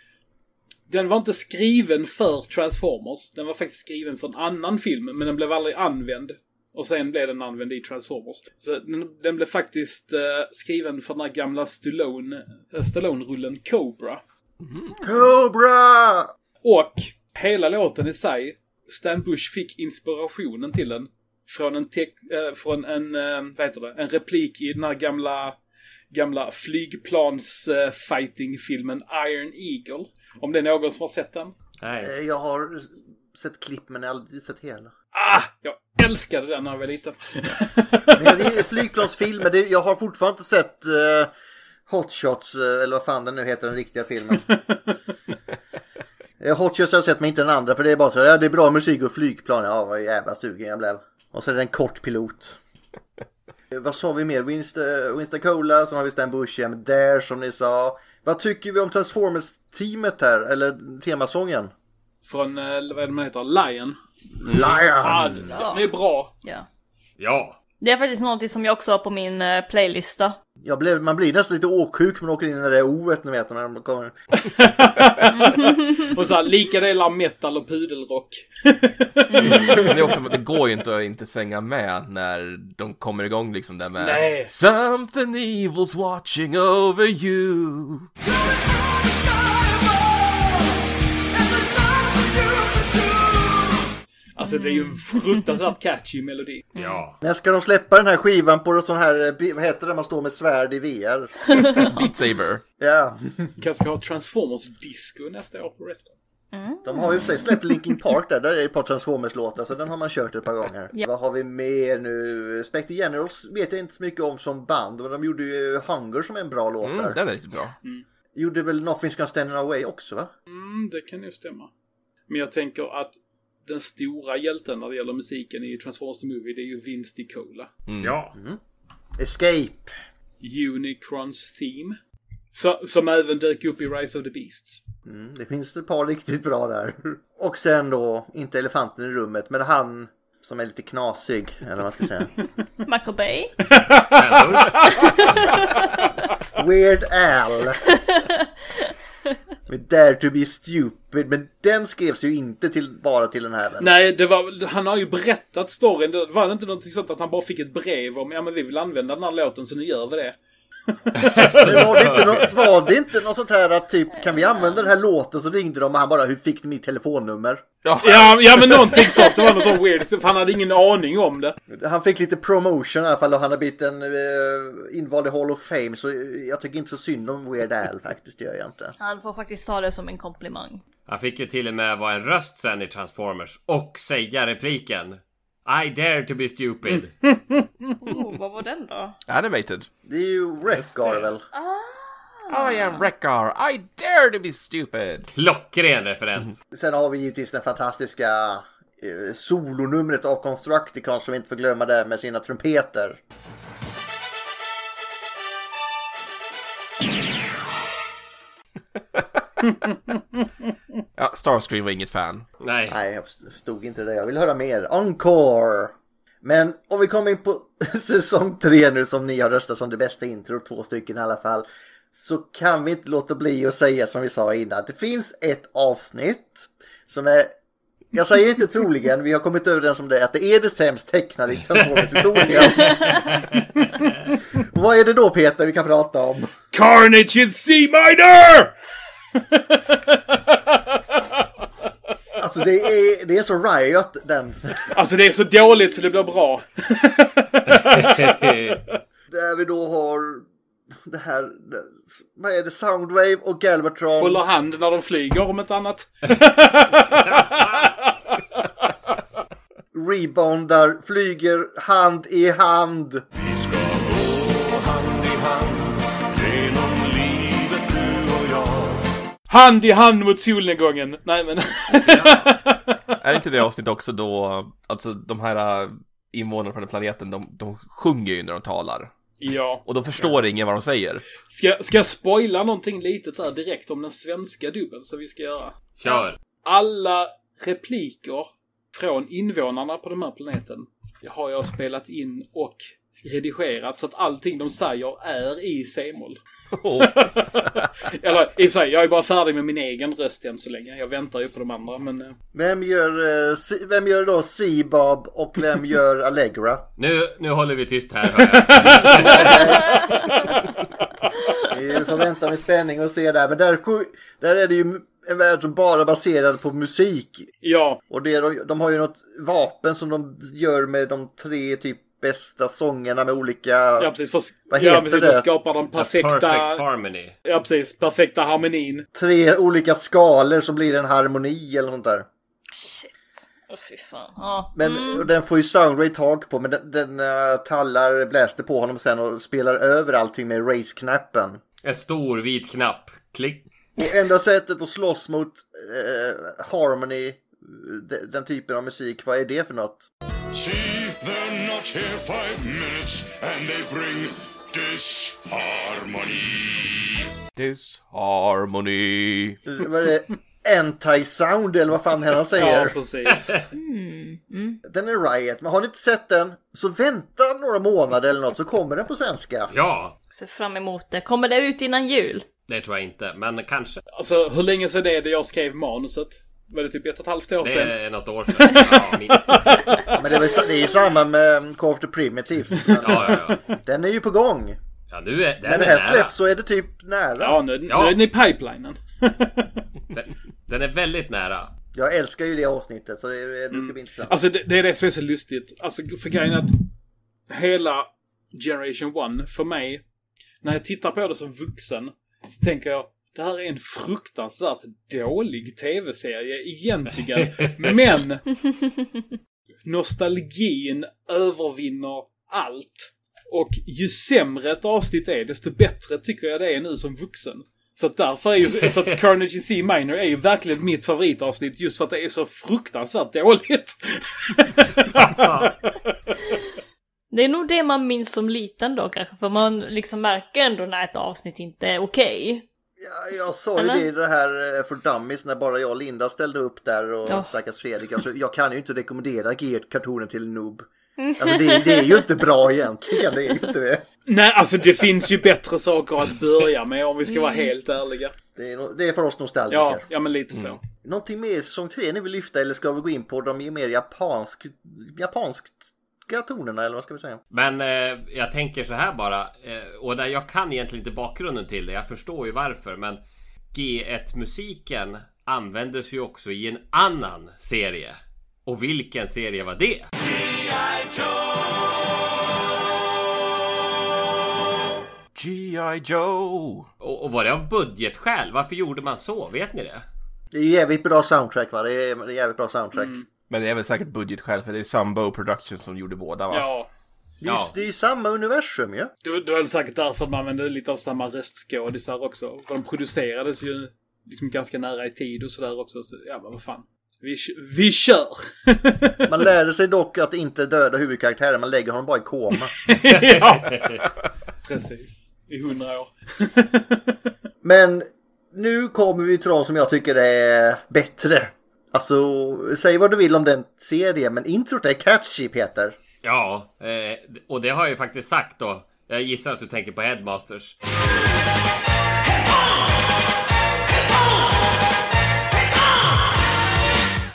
S6: Den var inte skriven för Transformers. Den var faktiskt skriven för en annan film, men den blev aldrig använd. Och sen blev den använd i Transformers. Så den, den blev faktiskt eh, skriven för den här gamla Stallone, eh, Stallone-rullen Cobra.
S3: Cobra!
S6: Och hela låten i sig, Stan Bush fick inspirationen till den från en, tec- eh, från en, eh, vad heter det, en replik i den här gamla, gamla flygplans-fighting-filmen Iron Eagle. Om det är någon som har sett den.
S10: Nej.
S3: Eh, Jag har sett klipp men aldrig sett hela.
S6: Ah, jag älskade den när jag var liten.
S3: Men det är ju flygplansfilmer, det, jag har fortfarande inte sett eh, Hot Shots, eh, eller vad fan den nu heter, den riktiga filmen. Eh, Hot Shots har jag sett men inte den andra för det är bara så ja, det är bra musik och flygplan. Ja vad jävla sugen jag blev. Och så är det en kort pilot. Eh, Vad sa vi mer? Winst- Winston Cola, som har vi Stan Bush igen, Dare som ni sa. Vad tycker vi om Transformers-teamet här? Eller temasången?
S6: Från, eh, vad är det man heter? Lion.
S3: Lion.
S6: Ah, den den är bra.
S1: Ja.
S10: Ja.
S1: Det är faktiskt något som jag också har på min eh, playlista.
S3: Jag blev, man blir nästan lite åksjuk men åker in i det där O-et ni vet när de kommer.
S6: Och så här, lika delar metal och pudelrock.
S4: Men det, är också, det går ju inte att inte svänga med när de kommer igång liksom där med
S6: Nej.
S4: Something evil's watching over you
S6: Alltså det är ju en fruktansvärt catchy melodi.
S10: Ja.
S3: När ska de släppa den här skivan på en sån här, eh, bi- vad heter det, man står med svärd i VR?
S4: Beat Saber.
S3: Ja,
S6: Kanske ska ha Transformers disco nästa år på Retro.
S3: de har ju i och för sig släppt Linkin Park där, där är det ett par Transformers-låtar så den har man kört ett par gånger.
S1: Ja.
S3: Vad har vi mer nu? Spectre Generals vet jag inte så mycket om som band, men de gjorde ju Hunger som är en bra låt
S4: Mm,
S3: där.
S4: den är riktigt bra.
S3: Gjorde väl Nothing's Gonna Stand In Our Way också va?
S6: Mm, det kan ju stämma. Men jag tänker att den stora hjälten när det gäller musiken i Transformers The Movie, det är ju Vince DiCola.
S10: Ja.
S3: Escape.
S6: Unicrons Theme. Så, som även dök upp i Rise of the Beasts.
S3: Mm, det finns ett par riktigt bra där. Och sen då, inte elefanten i rummet, men han som är lite knasig, eller vad man ska säga.
S1: Michael Bay.
S3: Weird Al. Med Dare to be stupid. Men den skrevs ju inte till, bara till den här vännen.
S6: Nej, det var, väl- han har ju berättat storyn. Det var det inte någonting sånt att han bara fick ett brev om ja men vi vill använda den här låten så nu gör vi det.
S3: Men Var det, inte nå- var det inte något sånt här att typ kan vi använda den här låten? Så ringde de och han bara hur fick ni mitt telefonnummer?
S6: Ja, ja men någonting sånt. Det var något sån weird. För han hade ingen aning om det.
S3: Han fick lite promotion i alla fall och han har blivit en eh, invald i Hall of Fame. Så eh, jag tycker inte så synd om Weird Al faktiskt, det gör jag inte.
S1: Han får faktiskt ta det som en komplimang.
S10: Han fick ju till och med vara en röst sen i Transformers och säga repliken. I dare to be stupid.
S1: Oh, vad var den då?
S4: Animated.
S3: Det är ju Wreck-Gar väl?
S4: I am Wreckar, I dare to be stupid.
S10: Klockren referens.
S3: Sen har vi givetvis den fantastiska eh, solonumret av Constructicon som vi inte får glömma där med sina trumpeter.
S4: Ja, Starscream var inget fan.
S10: Nej.
S3: Nej, jag förstod inte det. Jag vill höra mer. Encore! Men om vi kommer in på säsong tre nu som ni har röstat som det bästa intro, två stycken i alla fall. Så kan vi inte låta bli att säga som vi sa innan. Det finns ett avsnitt som är, jag säger inte troligen, vi har kommit överens om det, att det är det sämst tecknade i Transformers historia. Vad är det då Peter vi kan prata om?
S6: Carnage in C minor!
S3: Alltså det är, det är så riot den.
S6: Alltså det är så dåligt så det blir bra.
S3: Där vi då har det här, vad är det, Soundwave och Galvatron.
S6: Håller hand när de flyger om ett annat.
S3: reboundar, flyger hand i hand.
S11: Vi ska gå hand i hand genom livet du och jag.
S6: Hand i hand mot solnedgången. Nej men.
S4: Är inte det avsnitt också då, alltså de här äh, invånarna på den här planeten, de, de sjunger ju när de talar.
S6: ja.
S4: Och då förstår ingen vad de säger.
S6: Ska, ska jag spoila någonting litet där direkt om den svenska dubben som vi ska göra?
S10: Kör.
S6: Alla repliker från invånarna på den här planeten har jag spelat in och redigerat så att allting de säger är i C-moll.
S4: Oh.
S6: Eller i och för sig, jag är bara färdig med min egen röst än så länge. Jag väntar ju på de andra, men... eh,
S3: Vem gör, eh, Si- vem gör då Seabob och vem gör Allegra?
S10: Nu, nu håller vi tyst här hör jag.
S3: Vi får vänta med spänning och se där. Men där, sju- där är det ju en värld som bara är baserad på musik.
S6: Ja,
S3: Och det, är de- de har ju något vapen som de gör med de tre typ bästa sångerna med olika...
S6: ja precis. För,
S3: Vad
S6: ja,
S3: heter
S6: precis,
S3: det?
S6: De skapar den
S10: Perfect
S6: perfekta...
S10: harmony.
S6: Ja, precis. Perfekta harmonin.
S3: Tre olika skalor som blir en harmoni eller sånt där.
S1: Shit. Åh, fy fan. Ja.
S3: Men och den får ju Soundray tag på men den, den eh, tallar bläster på honom sen och spelar över allting med race-knappen.
S10: En stor vit knapp. Klick.
S3: Och enda sättet att slåss mot eh, Harmony, eh, de- den typen av musik, vad är det för något?
S11: See, they're not here five minutes, and they bring disharmony.
S4: Disharmony.
S3: Vad är det? Anti-sound eller vad fan han säger?
S4: Ja, precis.
S3: Den är Riot, men har ni inte sett den så vänta några månader eller något så kommer den på svenska.
S10: Ja,
S1: Ser fram emot det. Kommer det ut innan jul?
S10: det tror jag inte, men kanske.
S6: Alltså, hur länge sedan är det jag skrev manuset? Var det typ ett och ett halvt år
S10: Det
S6: sedan?
S10: är något år sedan. Ja, minst.
S3: Men det är, väl, sa- det är ju samma med um, Call of the Primitives. Men
S10: Ja, ja,
S3: Den är ju på gång.
S10: Ja, nu är den
S3: När det
S10: är
S3: här
S10: nära.
S3: släpps så är det typ nära.
S6: Ja, nu,
S10: Ja.
S6: nu är ni i pipelinen.
S10: Den, den är väldigt nära.
S3: Jag älskar ju det avsnittet så det, det ska bli intressant.
S6: Alltså det, det är det som är så lustigt. Alltså för grejen är att hela Generation 1 för mig, när jag tittar på det som vuxen, så tänker jag det här är en fruktansvärt dålig tv-serie egentligen. men nostalgin övervinner allt. Och ju sämre ett avsnitt är, desto bättre tycker jag det är nu som vuxen. Så att därför är ju, så att Carnage in C Minor är ju verkligen mitt favoritavsnitt just för att det är så fruktansvärt dåligt.
S1: Det är nog det man minns som liten då kanske, för man liksom märker ändå när ett avsnitt inte är okej.
S3: Ja, jag sa ju det i det här eh, för Dummies när bara jag och Linda ställde upp där och
S1: Ja.
S3: stackars Fredrik. Alltså, jag kan ju inte rekommendera G1-kartonen till en noob. Alltså, det, det är ju inte bra egentligen, det är ju inte det.
S6: Nej, alltså det finns ju bättre saker att börja med om vi ska vara helt ärliga.
S3: Det är, no- det är för oss nostalgiker.
S6: Ja, ja men lite så.
S3: Någonting mer som tre ni vill lyfta eller ska vi gå in på de mer japansk, japanska tonerna eller vad ska vi säga?
S10: Men eh, jag tänker så här bara. Eh, och där jag kan egentligen inte bakgrunden till det. Jag förstår ju varför. Men G1-musiken användes ju också i en annan serie. Och vilken serie var det?
S4: G.I. Joe.
S10: Och, och var det av budgetskäl? Varför gjorde man så? Vet ni det?
S3: Det är ju jävligt bra soundtrack va? Det är, det är jävligt bra soundtrack.
S6: Mm.
S4: Men det är väl säkert budgetskäl för det är Sambo Productions som gjorde båda va?
S6: Ja.
S3: Det, är, det är ju samma universum ju.
S6: Det, var- det var väl säkert därför man använde lite av samma röstskådisar också. För de producerades ju liksom ganska nära i tid och sådär också. Så, ja, men vad fan. Vi, kö- vi kör!
S3: Man lärde sig dock att inte döda huvudkaraktären, man lägger honom bara i koma.
S6: ja. Precis. I hundra år.
S3: Men nu kommer vi till de som jag tycker är bättre. Alltså, säg vad du vill om den serien, men introt är catchy Peter.
S10: Ja, eh, och det har jag ju faktiskt sagt då. Jag gissar att du tänker på Headmasters.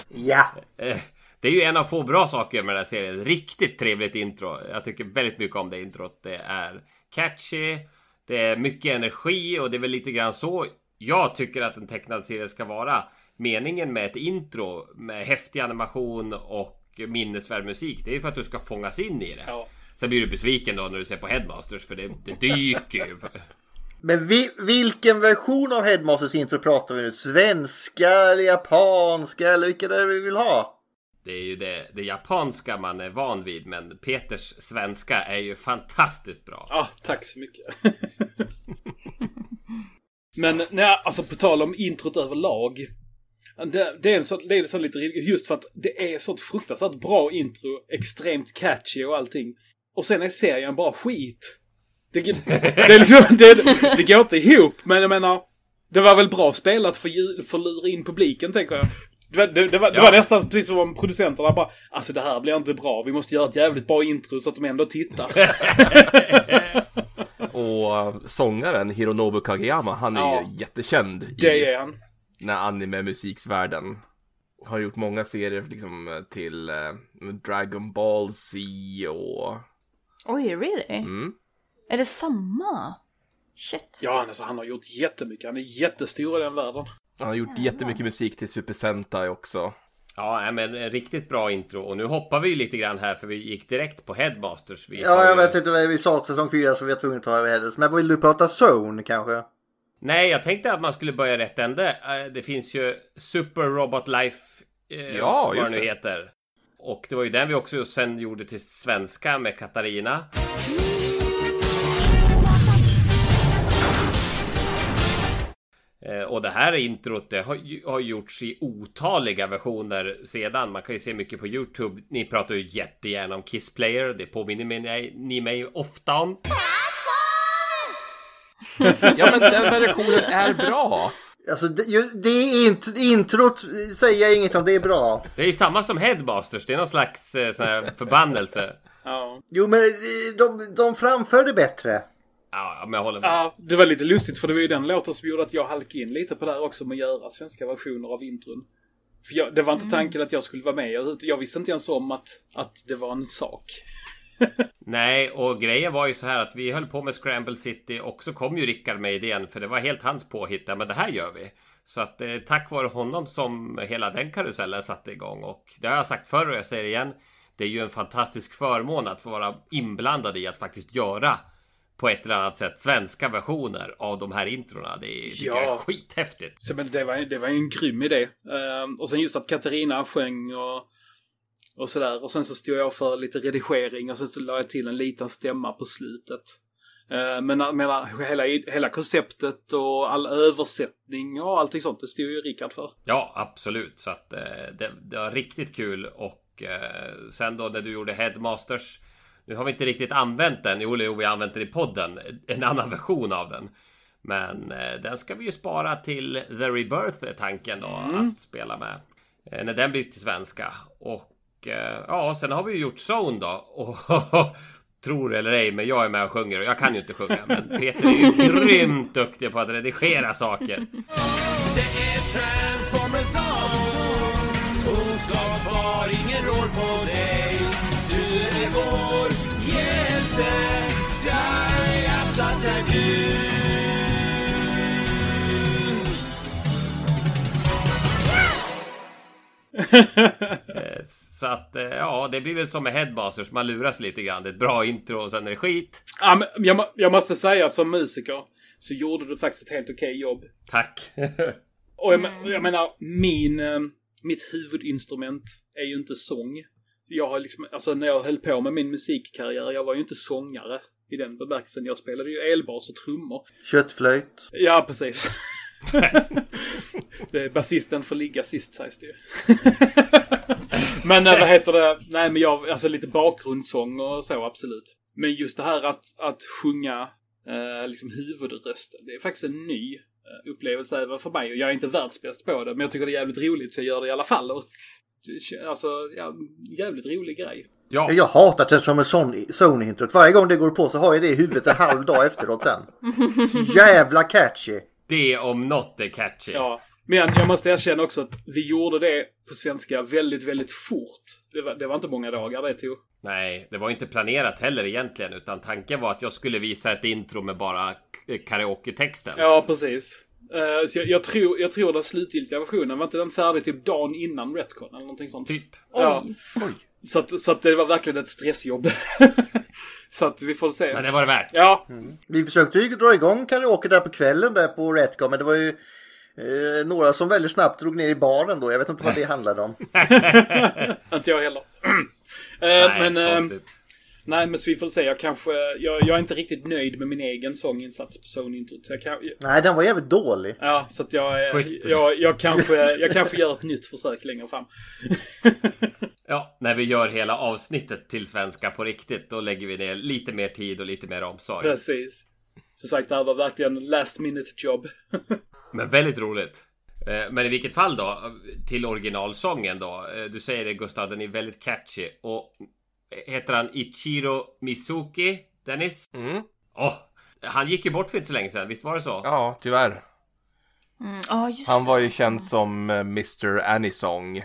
S3: Ja.
S10: Eh, Det är ju en av få bra saker med den här serien. Riktigt trevligt intro. Jag tycker väldigt mycket om det introt. Det är catchy, det är mycket energi och det är väl lite grann så jag tycker att en tecknad serie ska vara. Meningen med ett intro med häftig animation och minnesvärd musik, det är ju för att du ska fångas in i det.
S6: Ja.
S10: Sen blir du besviken då när du ser på Headmasters för det, det dyker ju.
S3: Men vi, vilken version av Headmasters intro pratar vi nu? Svenska eller japanska eller vilken är det vi vill ha?
S10: Det är ju det, det japanska man är van vid, men Peters svenska är ju fantastiskt bra.
S6: Ja, tack så mycket. Men nej, alltså på tal om introt överlag. Det, det, är en sån, det är en sån lite just för att det är sånt fruktansvärt bra intro, extremt catchy och allting. Och sen är serien bara skit. Det, det, är liksom, det, det går inte ihop, men jag menar, det var väl bra spelat för, ju- för att lura in publiken, tänker jag. Det, var- det, det, var, det var
S10: Ja.
S6: nästan precis som om producenterna bara, alltså det här blir inte bra, vi måste göra ett jävligt bra intro så att de ändå tittar.
S4: Och äh, sångaren Hironobu Kageyama, han är
S6: Ja.
S4: ju jättekänd
S6: Det
S4: i
S6: är han.
S4: den här anime-musiksvärlden. Har gjort många serier liksom till eh, Dragon Ball Z och...
S1: Oj, really?
S4: Mm.
S1: Är det samma? Shit.
S6: Ja, alltså, han har gjort jättemycket. Han är jättestor i den världen.
S4: Han har gjort jättemycket musik till Super Sentai också.
S10: Ja, nej, men en riktigt bra intro. Och nu hoppar vi ju lite grann här för vi gick direkt på Headmasters. Vi har
S3: Ja, jag
S10: ju...
S3: vet inte vad vi sa säsong 4 så vi var tvungna att ta över Headmasters. Men vill du prata Zone kanske?
S10: Nej, jag tänkte att man skulle börja rätt ände. Eh, Det finns ju Super Robot Life eh,
S4: Ja,
S10: vad
S4: just
S10: den
S4: det.
S10: nu heter. Och det var ju den vi också sen gjorde till svenska med Katarina. Eh, Och det här introt det har, ju- har gjorts i otaliga versioner sedan. Man kan ju se mycket på Youtube. Ni pratar ju jättegärna om Kiss Player. Det påminner mig, ni mig ofta om.
S4: Ja men den versionen är bra.
S3: Alltså det, ju- det är int, introt säger jag inget om, det är bra.
S10: Det är ju samma som Headbusters. Det är någon slags eh, sån här förbannelse.
S6: Ja.
S3: Jo men eh, de, de framför det bättre.
S10: Ja, men jag håller med.
S6: Ja, det var lite lustigt för det var ju den låten som gjorde att jag halkade in lite på det här också med att göra svenska versioner av intron. För jag, det var inte tanken att jag skulle vara med. Jag, jag visste inte ens om att, att det var en sak.
S10: Nej, och grejen var ju så här att vi höll på med Scramble City och så kom ju Rickard med idén för det var helt hans påhitt. Ja, Men det här gör vi. Så att eh, tack vare honom som hela den karusellen satte igång och det har jag sagt förr och jag säger det igen. Det är ju en fantastisk förmån att få vara inblandad i att faktiskt göra på ett eller annat sätt svenska versioner av de här introna. Det är, tycker jag är skithäftigt.
S6: Så, men det, var, det var ju en grym idé. Ehm, och sen just att Katarina sjöng och, och sådär. Och sen så stod jag för lite redigering och sen så la jag till en liten stämma på slutet. Ehm, men jag menar, hela, i- hela konceptet och all översättning och allting sånt, det stod ju Rickard för.
S10: Ja, absolut. Så att eh, det, det var riktigt kul och eh, sen då när du gjorde Headmasters. Nu har vi inte riktigt använt den. Jo, jo, vi har använt den i podden. En annan version av den. Men eh, den ska vi ju spara till The Rebirth är tanken då
S6: Mm.
S10: att spela med. Eh, när den blir till svenska. Och eh, ja, sen har vi ju gjort Zone då. Och tror eller ej, men jag är med och sjunger och jag kan ju inte sjunga. Men Peter är ju grymt duktig på att redigera saker.
S2: Det är Transformers Zone Oslagbar, ingen rår på dig Du är vår hjälte Jajaptas är du
S10: Eh, Så att eh, ja, det blir väl som med headbasers. Man luras lite grann. Det är ett bra intro och sen är det skit.
S6: Ja, men jag, må- jag måste säga som musiker så gjorde du faktiskt ett helt okej jobb.
S10: Tack.
S6: Och jag, men- jag menar, min, eh, mitt huvudinstrument är ju inte sång. Jag har liksom, alltså när jag höll på med min musikkarriär, jag var ju inte sångare i den bemärkelsen. Jag spelade ju elbas och trummor.
S3: Köttflöjt.
S6: Ja, precis. det är basisten får ligga sist sägs det ju. men eh, vad heter det? Nej, men jag, alltså lite bakgrundssång och så absolut. Men just det här att, att sjunga eh, liksom huvudrösten, det är faktiskt en ny eh, upplevelse även för mig. Och jag är inte världsbäst på det, men jag tycker det är jävligt roligt så jag gör det i alla fall. Och, alltså, ja, jävligt rolig grej.
S10: Ja.
S3: Jag hatar Transformers Zone- Zone-introt. Varje gång det går på så har jag det i huvudet en halv dag efteråt sen. Jävla catchy!
S10: Det om något är catchy.
S6: Ja, men jag måste erkänna också att vi gjorde det på svenska väldigt, väldigt fort. Det var, det var inte många dagar det tog.
S10: Nej, det var inte planerat heller egentligen, utan tanken var att jag skulle visa ett intro med bara k- karaoke-texten.
S6: Ja, precis. Eh, så jag, jag, tror, jag tror den slutgiltiga versionen, var inte den färdig typ dagen innan Retcon eller någonting sånt?
S10: Typ.
S6: Ja.
S1: Oj.
S6: Så, att, så att det var verkligen ett stressjobb. så att vi får se.
S10: Men det var det värt.
S6: Ja.
S3: Vi försökte ju dra igång karaoke där på kvällen där på Retcon men det var ju eh, några som väldigt snabbt drog ner i baren då. Jag vet inte vad det handlade om.
S6: inte jag heller. Eh,
S10: Nej,
S6: men, eh,
S10: konstigt.
S6: nej, men så vi får se. Jag kanske... Jag, jag är inte riktigt nöjd med min egen sånginsats på Zone-introt. Så jag kan,
S3: Nej, den var jävligt dålig.
S6: Ja, så att jag, eh,
S10: Schysst.
S6: jag, jag, kanske, jag kanske gör ett nytt försök längre fram.
S10: Ja, när vi gör hela avsnittet till svenska på riktigt, då lägger vi ner lite mer tid och lite mer omsorg.
S6: Precis. Som sagt, det här var verkligen last minute job.
S10: Men väldigt roligt. Eh, Men i vilket fall då, till originalsången då. Eh, Du säger det Gustav, den är väldigt catchy. Och eh, heter han Ichiro Mizuki, Dennis?
S4: Mm.
S10: Åh, han gick ju bort för inte så länge sedan, visst var det så?
S4: Ja, tyvärr.
S1: Mm, ja, just
S4: Han var
S1: det.
S4: ju känd som eh, Mr. Anisong.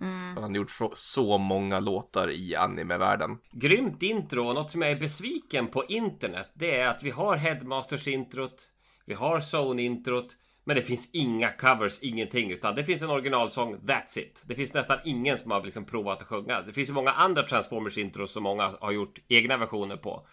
S1: Mm.
S4: Han har gjort så, så många låtar i anime-världen.
S10: Grymt intro och något som jag är besviken på internet det är att vi har Headmasters introt, vi har Zone introt, men det finns inga covers, ingenting, utan det finns en originalsång, that's it. Det finns nästan ingen som har liksom provat att sjunga. Det finns ju många andra Transformers intros som många har gjort egna versioner på.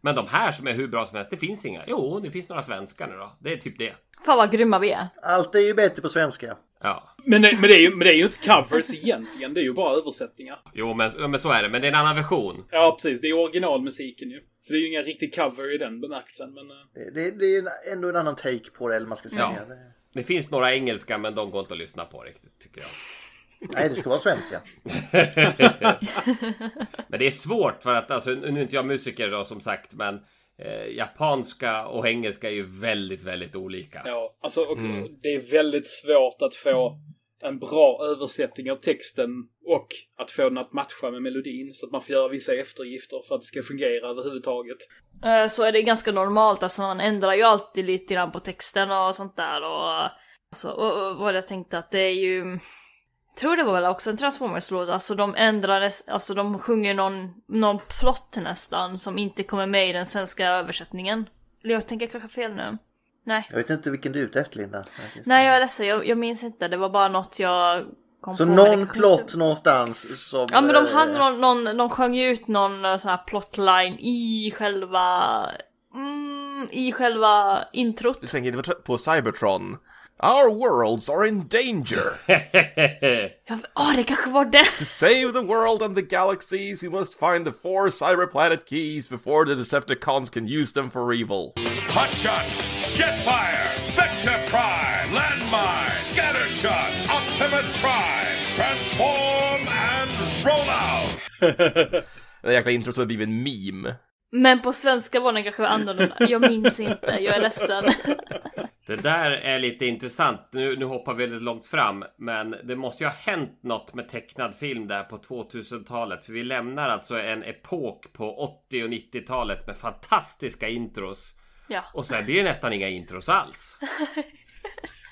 S10: Men de här som är hur bra som helst, det finns inga. Jo, det finns några svenskar nu då. Det är typ det.
S1: Fan vad grymma vi är.
S3: Allt är ju bättre på svenska.
S10: Ja.
S6: Men, det- men, det är ju, men det är ju inte covers egentligen, det är ju bara översättningar.
S10: Jo, men, ja, men så är det. Men det är en annan version.
S6: Ja, precis. Det är originalmusiken ju. Så det är ju ingen riktig cover i den bemärkelsen, men... eh,
S3: Det, det, det är en- ändå en annan take på det, eller vad man ska säga.
S10: Ja. Det finns några engelska, men de går inte att lyssna på riktigt tycker jag.
S3: Nej, det ska vara svenska.
S10: men det är svårt för att alltså, nu är inte jag musiker då som sagt, men eh, japanska och engelska är ju väldigt, väldigt olika.
S6: Ja, alltså och
S10: Mm.
S6: det är väldigt svårt att få en bra översättning av texten och att få den att matcha med melodin så att man får göra vissa eftergifter för att det ska fungera överhuvudtaget.
S1: Eh, Så är det ganska normalt, alltså man ändrar ju alltid lite grann på texten och sånt där och... Alltså, och, och vad jag tänkte att det är ju... Jag tror det var väl också en Transformers-låt, alltså de ändrades, alltså de sjunger någon, någon plott nästan som inte kommer med i den svenska översättningen. Eller jag tänker kanske fel nu. Nej.
S3: Jag vet inte vilken du är ute efter, Linda.
S1: Nej jag är ledsen, jag, jag minns inte, det var bara något jag kom
S3: Så
S1: på. men det
S3: någon
S1: kanske
S3: plott någonstans som...
S1: Ja men de
S3: eh,
S1: hade någon, någon, de sjöng ju ut någon eh, sån här plotline i själva... Mm, I själva introt.
S4: Du tänker inte på Cybertron? Our worlds are in danger!
S1: Ja det kanske var den!
S4: To save the world and the galaxies we must find the four cyberplanet keys before the Decepticons can use them for evil.
S11: Hotshot, Jetfire, Vector Prime, Landmine, Scattershot, Optimus Prime, Transform and Roll Out!
S4: Det där jäkla introt har blivit en meme.
S1: Men på svenska var den kanske annorlunda. Jag minns inte, jag är ledsen.
S10: Det där är lite intressant. Nu, nu hoppar vi väldigt långt fram, men det måste ju ha hänt något med tecknad film där på 2000-talet. För vi lämnar alltså en epok på 80 och 90-talet med fantastiska intros.
S1: Ja.
S10: Och sen blir det nästan inga intros alls.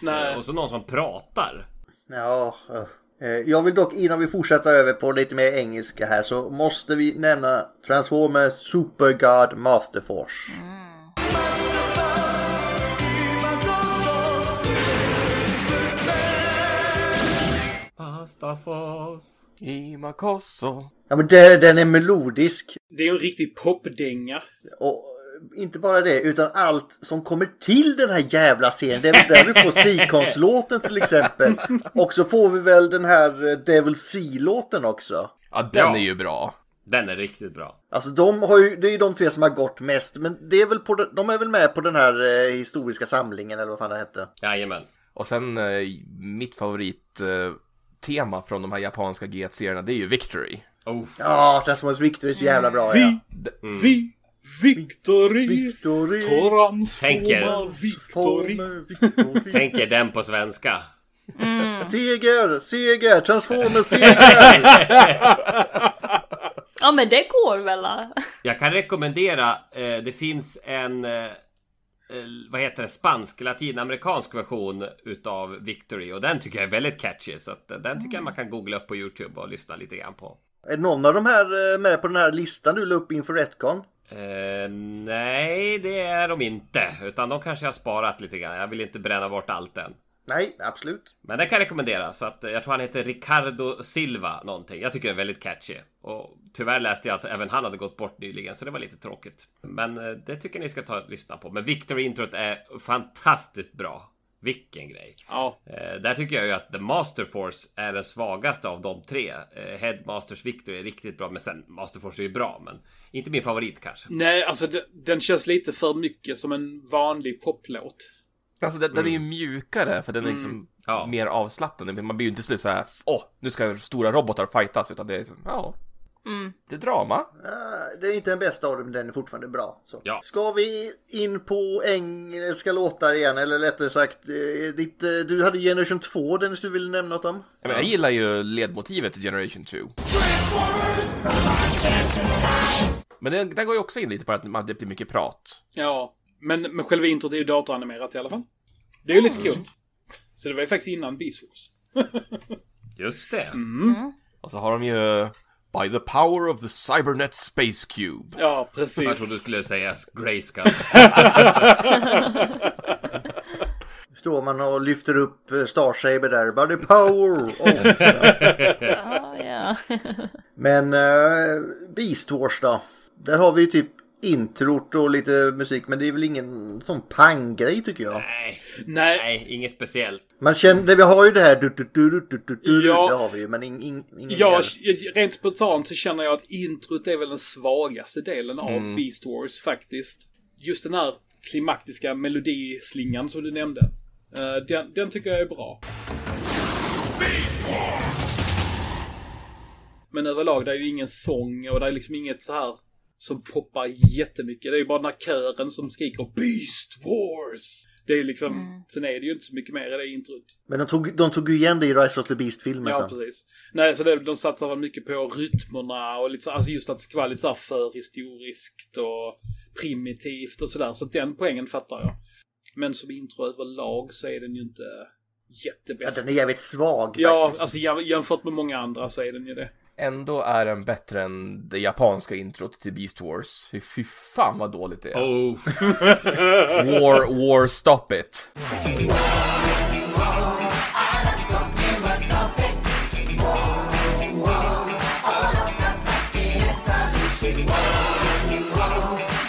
S10: Eh, Och så någon som pratar.
S3: Ja, eh, jag vill dock innan vi fortsätter över på lite mer engelska här så måste vi nämna Transformers Super God Master Force.
S1: Mm.
S10: Pastafos.
S4: Imakosso.
S3: Ja men det, den är melodisk.
S6: Det är ju en riktig popdänga.
S3: Och eh, inte bara det utan allt som kommer till den här jävla serien. Det är väl där vi får Seacons-låten till exempel. Och så får vi väl den här eh, Devil Sea-låten också.
S4: Ja, den
S10: Ja.
S4: är ju bra.
S10: Den är riktigt bra.
S3: Alltså de har ju, det är ju de tre som har gått mest. Men det är väl på, de- de är väl med på den här eh, historiska samlingen eller vad fan det hette.
S10: Jajamän.
S4: Och sen eh, mitt favorittema tema från de här japanska G1-serierna, det är ju Victory.
S10: Oh.
S3: Ja, Transformers Victory är så jävla bra ja.
S6: Vi, Victory,
S3: Victory.
S10: Tänker.
S6: Transforma, Victory.
S10: Tänk er den på svenska.
S3: Seger, seger, Transformers seger!
S1: Ja men det går väl? eh. va?
S10: Jag kan rekommendera, eh, det finns en eh, eh, vad heter det, spansk latinamerikansk version utav Victory och den tycker jag är väldigt catchy så att eh, den tycker jag man kan googla upp på Youtube och lyssna lite grann på.
S3: är någon av de här eh, med på den här listan du la upp inför Retcon?
S10: Eh, nej, det är de inte, utan de kanske jag har sparat lite grann. Jag vill inte bränna bort allt än.
S3: Nej, absolut.
S10: Men den kan jag rekommendera. Så att eh, jag tror han heter Ricardo Silva någonting. Jag tycker den är väldigt catchy. Och tyvärr läste jag att även han hade gått bort nyligen, så det var lite tråkigt. Men eh, det tycker jag ni ska ta och lyssna på. Men Victory-introt är fantastiskt bra. Vilken grej!
S6: Ja,
S10: Eh, där tycker jag ju att The Master Force är den svagaste av de tre. Eh, Headmasters Victory är riktigt bra, men sen Master Force är ju bra, men inte min favorit kanske.
S6: nej alltså de- den känns lite för mycket som en vanlig poplåt.
S4: Alltså den, den är ju mjukare för den är liksom
S10: Mm. Ja.
S4: mer avslappnad. Men Man blir ju inte så här, åh, nu ska stora robotar fightas. Utan det är liksom, ja,
S1: Mm.
S4: det är drama.
S3: Eh, Det är inte den bästa av dem, men den är fortfarande bra. Så.
S10: Ja.
S3: Ska vi in på engelska låtar igen? Eller lättare sagt, eh, ditt, eh, du hade Generation 2, Dennis, du ville nämna något om?
S4: Jag, menar, jag gillar ju ledmotivet till Generation 2. Men den, den går ju också in lite på att man- det blir mycket prat.
S6: Ja, men, men själva introt är ju datoranimerat i alla fall. Det är ju lite kul. Så det var ju faktiskt innan Beast Wars.
S10: Just det.
S4: Och så har de ju By the power of the cybernet space cube.
S6: Ja, precis.
S10: Jag trodde du skulle säga Grayskull.
S3: Står man och lyfter upp eh, Star Saber där, Oh. bara the power of.
S1: Ja, ja.
S3: Men eh, Beast Wars då? Där har vi ju typ introt och lite musik. Men det är väl ingen sån panggrej tycker jag.
S10: Nej.
S6: Nej.
S10: inget speciellt.
S3: Man känner, vi har ju det här du, du, du, du, du, du, du,
S6: Ja.
S3: det har vi ju. Men ing, ing, ingen
S6: Ja,
S3: mer.
S6: rent spontant så känner jag att introt är väl den svagaste delen av
S3: Mm.
S6: Beast Wars faktiskt. Just den här klimaktiska melodislingan som du nämnde. Eh, den, den tycker jag är bra. Men överlag, det är ju ingen sång och det är liksom inget så här som poppar jättemycket. Det är ju bara den här kören som skriker Beast Wars! Det är liksom, sen är det ju inte så mycket mer i det introt.
S3: Men de tog, de tog ju igen det i Rise of the Beast-filmen
S6: Ja,
S3: sen.
S6: precis. Nej, så det, de satsar väl mycket på rytmerna och lite så, alltså just att det ska vara lite så här förhistoriskt och primitivt och sådär. Så att den poängen fattar jag. Men som intro överlag så är den ju inte
S3: Ja,
S6: jättebäst.
S3: den är jävligt svag
S6: Ja,
S3: faktiskt.
S6: alltså jäm- jämfört med många andra så är den ju det.
S4: Ändå är den bättre än det japanska introt till Beast Wars. Fy, fy fan vad dåligt det är.
S10: Oh.
S4: war, war, stop it.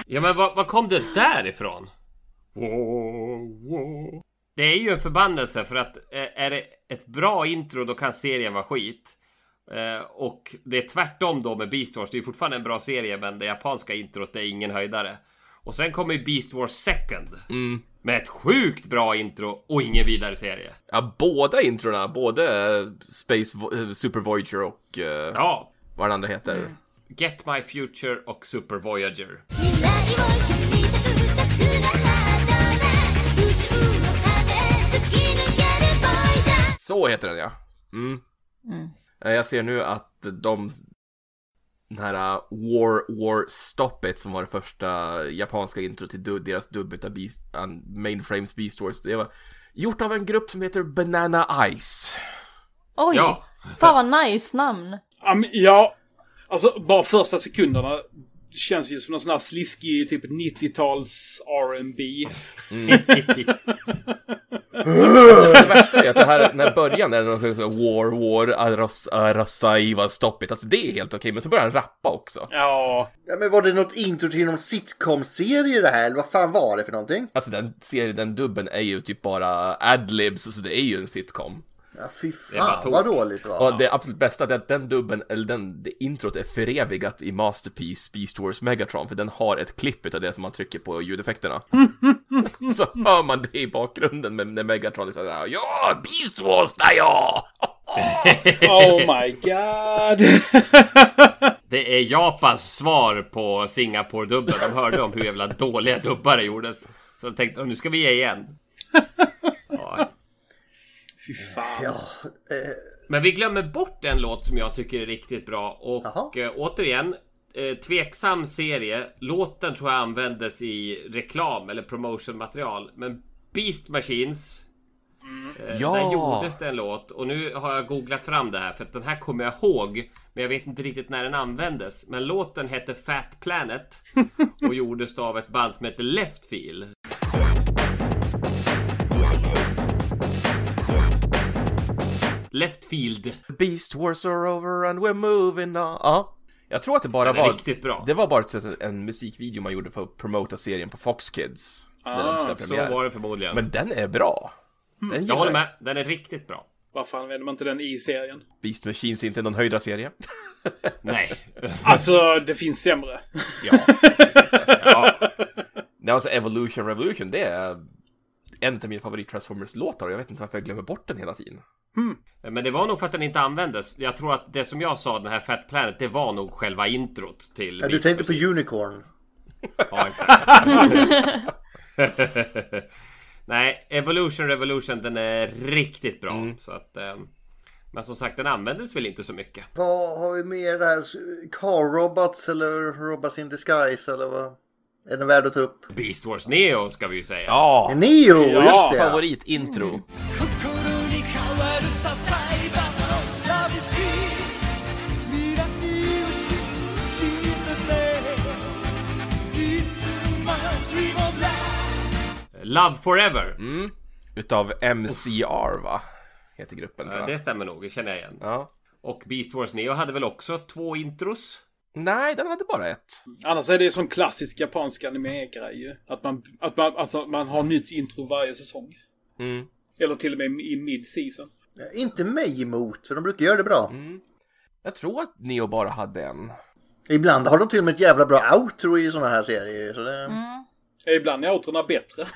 S10: Ja men vad, vad kom det där ifrån? Det är ju en förbannelse för att eh, är det ett bra intro då kan serien vara skit. Eh, och det är tvärtom då med Beast Wars. Det är ju fortfarande en bra serie men det japanska introt det är ingen höjdare. Och sen kommer ju Beast Wars Second. Med ett sjukt bra intro och ingen vidare serie.
S4: Ja, båda introna, både eh, Space Vo- eh, Super Voyager och eh,
S10: ja.
S4: vad den andra heter.
S10: Get My Future och Super Voyager.
S4: Så heter den ja. Mm.
S12: Mm.
S4: Eh, Jag ser nu att de den här eh, War War Stop It som var det första japanska intro till du- deras dubbet av Beast, an- Mainframes Beast Wars. Det var gjort av en grupp som heter Banana Ice.
S1: Oj!
S4: Ja.
S1: Fan vad nice namn!
S6: Am- ja, alltså bara första sekunderna känns ju som någon sån här sliskig typ 90-tals R&B.
S4: det värsta är att det här, när början är det någon sån här War War eh, Aras, Arasaiva Stop It. Alltså det är helt okej, men så börjar han rappa också.
S6: Ja.
S3: ja. Men var det något intro till någon sitcom-serie det här? Eller vad fan var det för någonting?
S4: Alltså den serien, den dubben är ju typ bara adlibs, så det är ju en sitcom.
S3: Ja, fy
S4: Det är bara
S3: fan
S4: tok.
S3: vad dåligt va?
S4: Och det absolut bästa är att den dubben, eller den, det introt är förevigat i Masterpiece Beast Wars Megatron, för den har ett klipp utav det som man trycker på ljudeffekterna. så hör man det i bakgrunden med, när Megatron är såhär Ja, Beast Wars, där ja!
S6: Oh my god!
S10: Det är Japans svar på Singapore-dubben. De hörde om hur jävla dåliga dubbar det gjordes. Så de tänkte nu ska vi ge igen.
S6: Fy fan.
S10: Men vi glömmer bort en låt som jag tycker är riktigt bra och eh, återigen eh, tveksam serie. Låten tror jag användes i reklam eller promotionmaterial. Men Beast Machines. Eh,
S4: Ja.
S10: Där gjordes det en låt och nu har jag googlat fram det här för att den här kommer jag ihåg. Men jag vet inte riktigt när den användes. Men låten hette Fat Planet och gjordes av ett band som heter Left Field. Left Field.
S4: Beast Wars are over and we're moving on. Ja. Jag tror att det bara
S10: Den är
S4: var...
S10: riktigt bra.
S4: Det var bara ett- en musikvideo man gjorde för att promota serien på Fox Kids. när den
S10: Ah,
S4: skulle ha
S10: så
S4: premiär.
S10: var det förmodligen.
S4: Men den är bra. Den
S10: Jag
S4: gillar
S10: håller med. Den är riktigt bra.
S6: Varför använder man inte den i serien?
S4: Beast Machines är inte någon höjda serie.
S10: Nej.
S6: Alltså, det finns sämre.
S4: Ja. ja. Nej, alltså Evolution Revolution, det är en av mina favorit Transformers-låtar och jag vet inte varför jag glömmer bort den hela tiden.
S10: Men det var nog för att den inte användes. Jag tror att det som jag sa, den här Fat Planet, det var nog själva introt till...
S3: Ja, du
S10: Beast
S3: tänkte
S10: Boys.
S3: på Unicorn.
S10: Ja, exakt. Nej, Evolution Revolution, den är riktigt bra.
S4: Mm.
S10: Så att, ehm, men som sagt, den användes väl inte så mycket.
S3: Vad har vi mer där? Car Robots eller Robots in Disguise eller vad? Är den värd att ta upp?
S10: Beast Wars Neo ska vi ju säga.
S4: Ja!
S3: Neo,
S4: ja,
S3: just det!
S4: favoritintro.
S10: Love Forever.
S4: Mm. Utav MCR va? Heter gruppen.
S10: Ja,
S4: va?
S10: det stämmer nog, det känner jag igen.
S4: Ja.
S10: Och Beast Wars Neo hade väl också två intros?
S4: Nej, den hade bara ett.
S6: Annars är det som klassisk japansk anime-grej Att man, att, man, alltså, man har nytt intro varje säsong.
S4: Mm.
S6: Eller till och med i mid-season.
S3: Inte mig emot, för de brukar göra det bra.
S4: Jag tror att Neo bara hade en.
S3: Ibland har de till och med ett jävla bra outro i sådana här serier. Så det...
S6: Ibland är outrona bättre.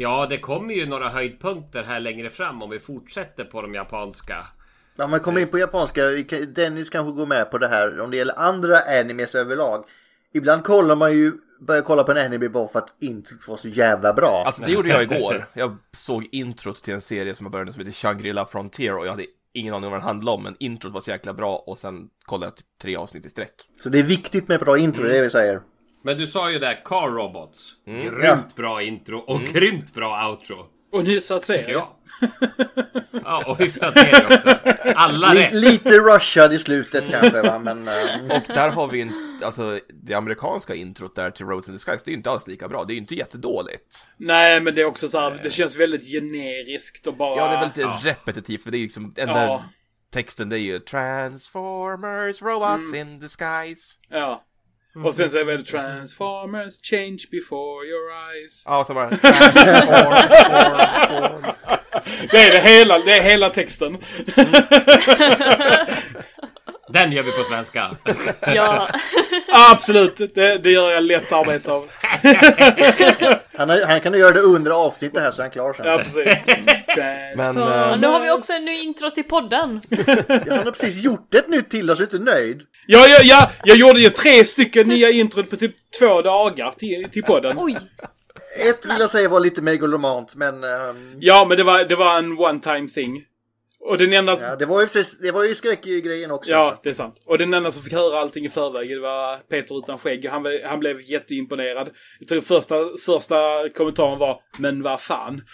S10: Ja, det kommer ju några höjdpunkter här längre fram om vi fortsätter på de japanska.
S3: Ja, man kommer in på japanska. vi kan- Dennis kanske går med på det här om det gäller andra animes överlag. Ibland kollar man ju, börjar kolla på en anime bara för att introt var så jävla bra.
S4: Alltså det gjorde jag igår. Jag såg introt till en serie som jag började som heter Shangri-La Frontier och jag hade ingen aning om vad den handlade om men introt var så jäkla bra och sen kollade jag typ tre avsnitt i sträck.
S3: Så det är viktigt med bra intro, det är det vi säger.
S10: Men du sa ju där Car Robots.
S3: Mm.
S10: Grymt bra intro och grymt bra outro.
S6: Och hyfsat serie.
S10: Ja. ja, och hyfsat serie också. Alla
S3: Li-
S10: rätt.
S3: lite rushad i slutet kanske, va? men... eh,
S4: Och där har vi en, alltså det amerikanska introt där till Roads in the Skies, det är ju inte alls lika bra. Det är ju inte jättedåligt.
S6: Nej, men det är också så här, det känns väldigt generiskt och bara...
S4: Eh. Ja, det är väldigt repetitivt för det är ju liksom den där
S6: Ja.
S4: texten det är ju Transformers, Robots in the Skies.
S6: Ja. Och sen så är det Transformers, change before your eyes.
S4: Ja, och så bara Transformers.
S6: Det är det hela, det är hela texten.
S10: Den gör vi på svenska.
S1: Ja.
S6: Absolut, det, det gör jag lätt arbete av.
S3: Han, har, han kan ju göra det under avsnittet här så är han klar sen.
S6: Ja, precis.
S4: Men,
S1: Ja,
S4: eh,
S1: nu har vi också en ny intro till podden.
S3: Ja, han har precis gjort ett nytt till och så är du inte nöjd.
S6: Ja, ja, ja, jag gjorde ju tre stycken nya intron på typ två dagar till, till podden.
S1: Oj!
S3: Ett vill jag säga var lite megalomant, men... ehm,
S6: Ja, men det var, det var en one time thing. Och den enda...
S3: ja,
S6: Ja.
S3: det var ju precis, det var ju skräckgrejen också.
S6: det är sant. Och den enda som fick höra allting i förväg, det var Peter utan skägg. Han, blev- han blev jätteimponerad. Jag tror första, första kommentaren var “Men vad fan?”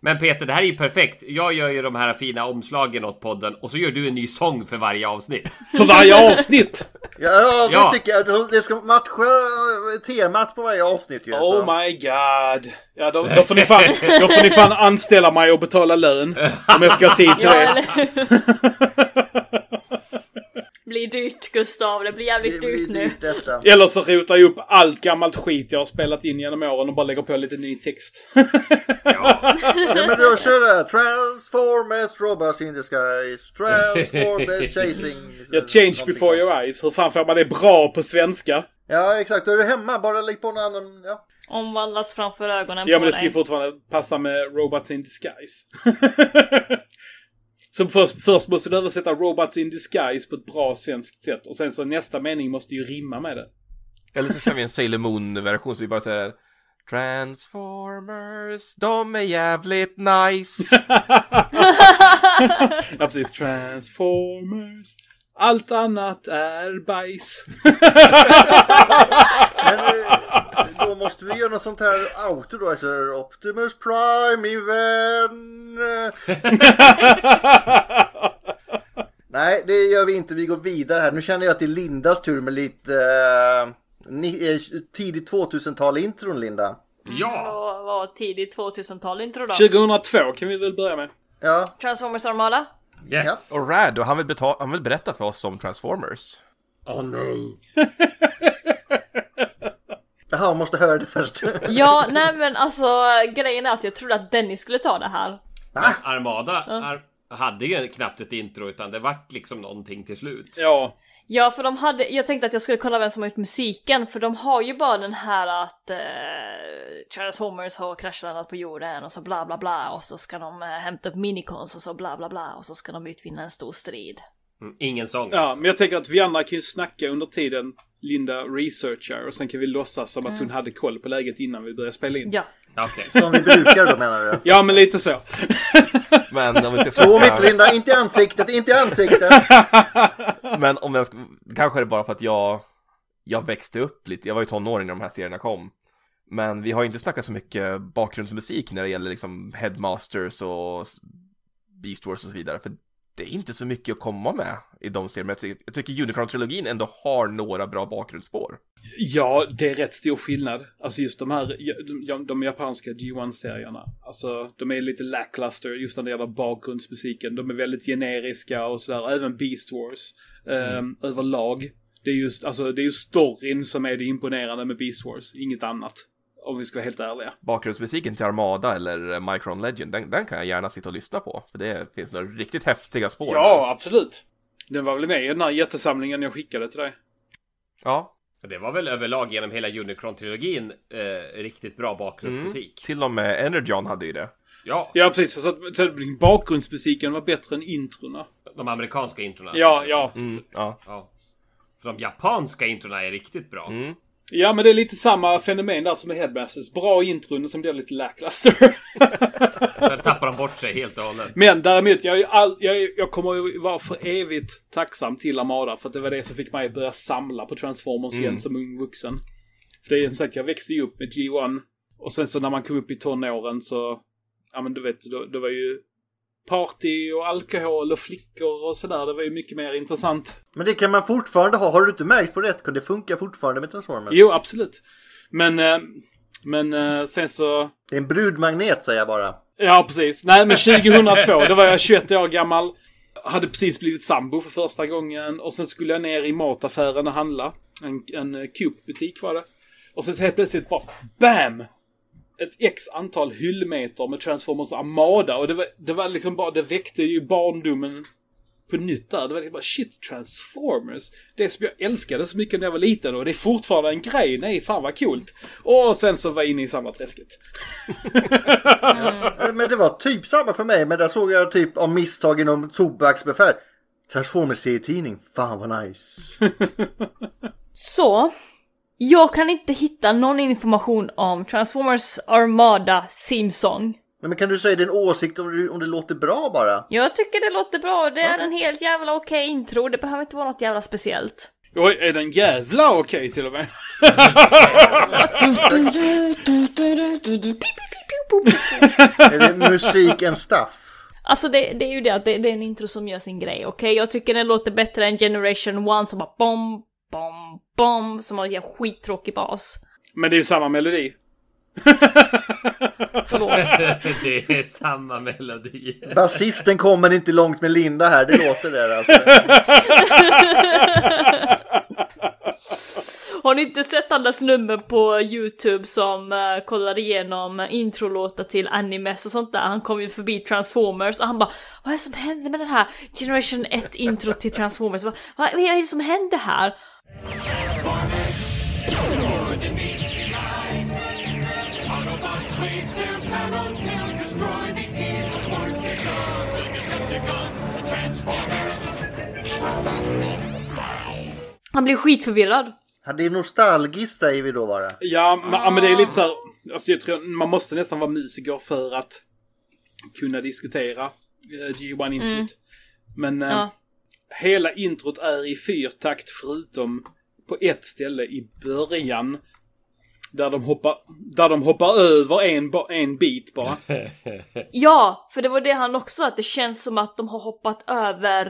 S10: Men Peter, det här är ju perfekt. Jag gör ju de här fina omslagen åt podden och så gör du en ny sång för varje avsnitt.
S6: För varje avsnitt!
S3: Ja, ja, det
S10: Ja.
S3: tycker jag. Det ska matcha eh, temat på varje avsnitt ju. så.
S6: Oh my god! Ja, då, då, får ni fan, då får ni fan anställa mig och betala lön. Om jag ska ha tid till
S1: Ja,
S6: det.
S1: eller blir dyrt Gustav, det blir
S3: Det
S1: jävligt
S3: blir
S1: dyrt nu.
S3: dyrt detta.
S6: Eller så rotar jag upp allt gammalt skit jag har spelat in genom åren och bara lägger på lite ny text.
S3: Ja, men då kör det. Transformers robots in the skies. Transformers chasing.
S6: Ja, change before your eyes. Hur fan får man det bra på svenska?
S3: Ja, exakt. Då är du hemma. Bara lägg på en annan. Ja.
S1: Omvandlas framför ögonen
S6: Ja,
S1: på
S6: men det ska ju
S1: dig.
S6: fortfarande passa med Robots in Disguise. Så först, först måste du översätta Robots in Disguise på ett bra svenskt sätt. Och sen så nästa mening måste ju rimma med det.
S4: eller så kör vi en Sailor Moon-version så vi bara säger Transformers, de är jävligt nice.
S6: Ja, precis. Transformers. Allt annat är bajs.
S3: Men eh, då måste vi göra något sånt här auto då. Alltså, Optimus Prime, min vän. Nej, det gör vi inte. Vi går vidare här. Nu känner jag att det är Lindas tur med lite eh, ni, eh, tidigt 2000-tal intron, Linda.
S10: Ja!
S1: Vad var tidigt 2000-tal intro då?
S6: 2002 kan vi väl börja med.
S3: Ja,
S1: Transformers Armada?
S10: Yes!
S4: Och Rad, och han vill, betala, han vill berätta för oss om Transformers.
S10: Åh nej!
S3: Jaha, jag måste höra det först.
S1: Ja, nej men alltså grejen är att jag trodde att Dennis skulle ta det här.
S10: Armada ar hade ju knappt ett intro utan det vart liksom någonting till slut.
S6: Ja.
S1: Ja, för de hade, jag tänkte att jag skulle kolla vem som har gjort musiken, för de har ju bara den här att eh, Transformers har kraschlandat på jorden och så bla bla bla och så ska de eh, hämta upp minicons och så bla bla bla och så ska de utvinna en stor strid.
S10: Mm, ingen sång.
S6: Ja, men jag tänker att vi andra kan ju snacka under tiden Linda researchar och sen kan vi låtsas som att hon hade koll på läget innan vi började spela in.
S1: Ja,
S10: Okej.
S3: Som vi brukar då menar du?
S6: Ja, men lite så.
S4: Men om vi ska
S3: Slå
S4: snacka-
S3: mitt Linda, inte i ansiktet, inte i ansiktet!
S4: Men om jag ska, kanske är det bara för att jag, jag växte upp lite, jag var ju tonåring när de här serierna kom. Men vi har ju inte snackat så mycket bakgrundsmusik när det gäller liksom Headmasters och Beast Wars och så vidare, för det är inte så mycket att komma med i de serierna. Jag tycker, jag tycker Unicron-trilogin ändå har några bra bakgrundsspår.
S6: Ja, det är rätt stor skillnad. Alltså just de här, de, de japanska G1-serierna. Alltså, de är lite lackluster just när det gäller bakgrundsmusiken. De är väldigt generiska och sådär. Även Beast Wars eh, överlag. Det är just, alltså det är ju storyn som är det imponerande med Beast Wars, inget annat. Om vi ska vara helt ärliga.
S4: Bakgrundsmusiken till Armada eller eh, Micron Legend, den, den kan jag gärna sitta och lyssna på. För det finns några riktigt häftiga spår.
S6: Ja, absolut. Den var väl med i den här jättesamlingen jag skickade till dig.
S4: Ja.
S10: Det var väl överlag genom hela Unicron-trilogin eh, riktigt bra bakgrundsmusik.
S4: Mm. Till och med Energon hade ju det.
S3: Mm.
S10: Ja.
S6: Ja, precis. Så att, så att bakgrundsmusiken var bättre än introna.
S10: De amerikanska introna.
S6: Ja, ja.
S4: Mm, ja.
S10: ja. För de japanska introna är riktigt bra.
S4: Mm.
S6: Ja, men det är lite samma fenomen där som med Headmasters. Bra intron som blir lite lackluster.
S10: Sen tappar de bort sig helt och hållet.
S6: men däremot, jag, är ju all, jag, är- jag kommer ju vara för evigt tacksam till Armada. För att det var det som fick mig att börja samla på Transformers igen som ung vuxen. För det är som sagt, jag växte ju upp med G1. Och sen så när man kom upp i tonåren så... Ja, men du vet, då, då var ju party och alkohol och flickor och sådär. Det var ju mycket mer intressant.
S3: Men det kan man fortfarande ha. Har du inte märkt på Retcon? Det funkar fortfarande med Transformers.
S6: Jo, absolut. Men, eh, men eh, sen så...
S3: Det är en brudmagnet säger jag bara.
S6: Ja, precis. Nej, men 2002, då var jag 21 år gammal. Hade precis blivit sambo för första gången och sen skulle jag ner i mataffären och handla. En, en eh, Coop-butik var det. Och sen så helt plötsligt bara BAM! Ett x antal hyllmeter med Transformers Armada och det var, det var liksom bara, det väckte ju barndomen på nytt där. Det var liksom bara shit, Transformers. Det som jag älskade så mycket när jag var liten och det är fortfarande en grej. Nej, fan vad coolt. Och sen så var jag inne i samma träsket.
S3: Eh, Men det var typ samma för mig. Men där såg jag typ om misstag inom tobaksbefär. Transformers serietidning. Fan vad nice.
S1: Så, jag kan inte hitta någon information om Transformers Armada Theme Song.
S3: Men men kan du säga din åsikt om det, om det låter bra bara?
S1: Jag tycker det låter bra, det är en helt jävla okej intro, det behöver inte vara något jävla speciellt.
S6: Oj, är den jävla okej till och med?
S3: Är det musik and stuff?
S1: Alltså det, det är ju det att det, det är en intro som gör sin grej, okej? Jag tycker den låter bättre än Generation 1 som bara bom, bom, bom, som har en skittråkig bas.
S6: Men det är ju samma melodi.
S1: Förlåt.
S10: det är samma melodi.
S3: Basisten kommer inte långt med Linda här. Det låter där alltså.
S1: Har ni inte sett alla snubben på YouTube som eh, kollar igenom introlåtar till animes och sånt där? Han kom ju förbi Transformers och han bara Vad är det som hände med den här Generation 1 intro till Transformers? Vad, vad är det som hände här? Han blir skitförvirrad.
S3: Ja, Det är nostalgiskt säger vi då bara.
S6: Ja, men, ja, men det är lite så här, alltså jag tror man måste nästan vara musiker för att kunna diskutera eh, G1-introt.
S1: Mm.
S6: Men eh,
S1: Ja.
S6: hela introt är i fyrtakt förutom på ett ställe i början. Där de hoppar, där de hoppar över en, ba- en bit bara.
S1: Ja, för det var det han också, att det känns som att de har hoppat över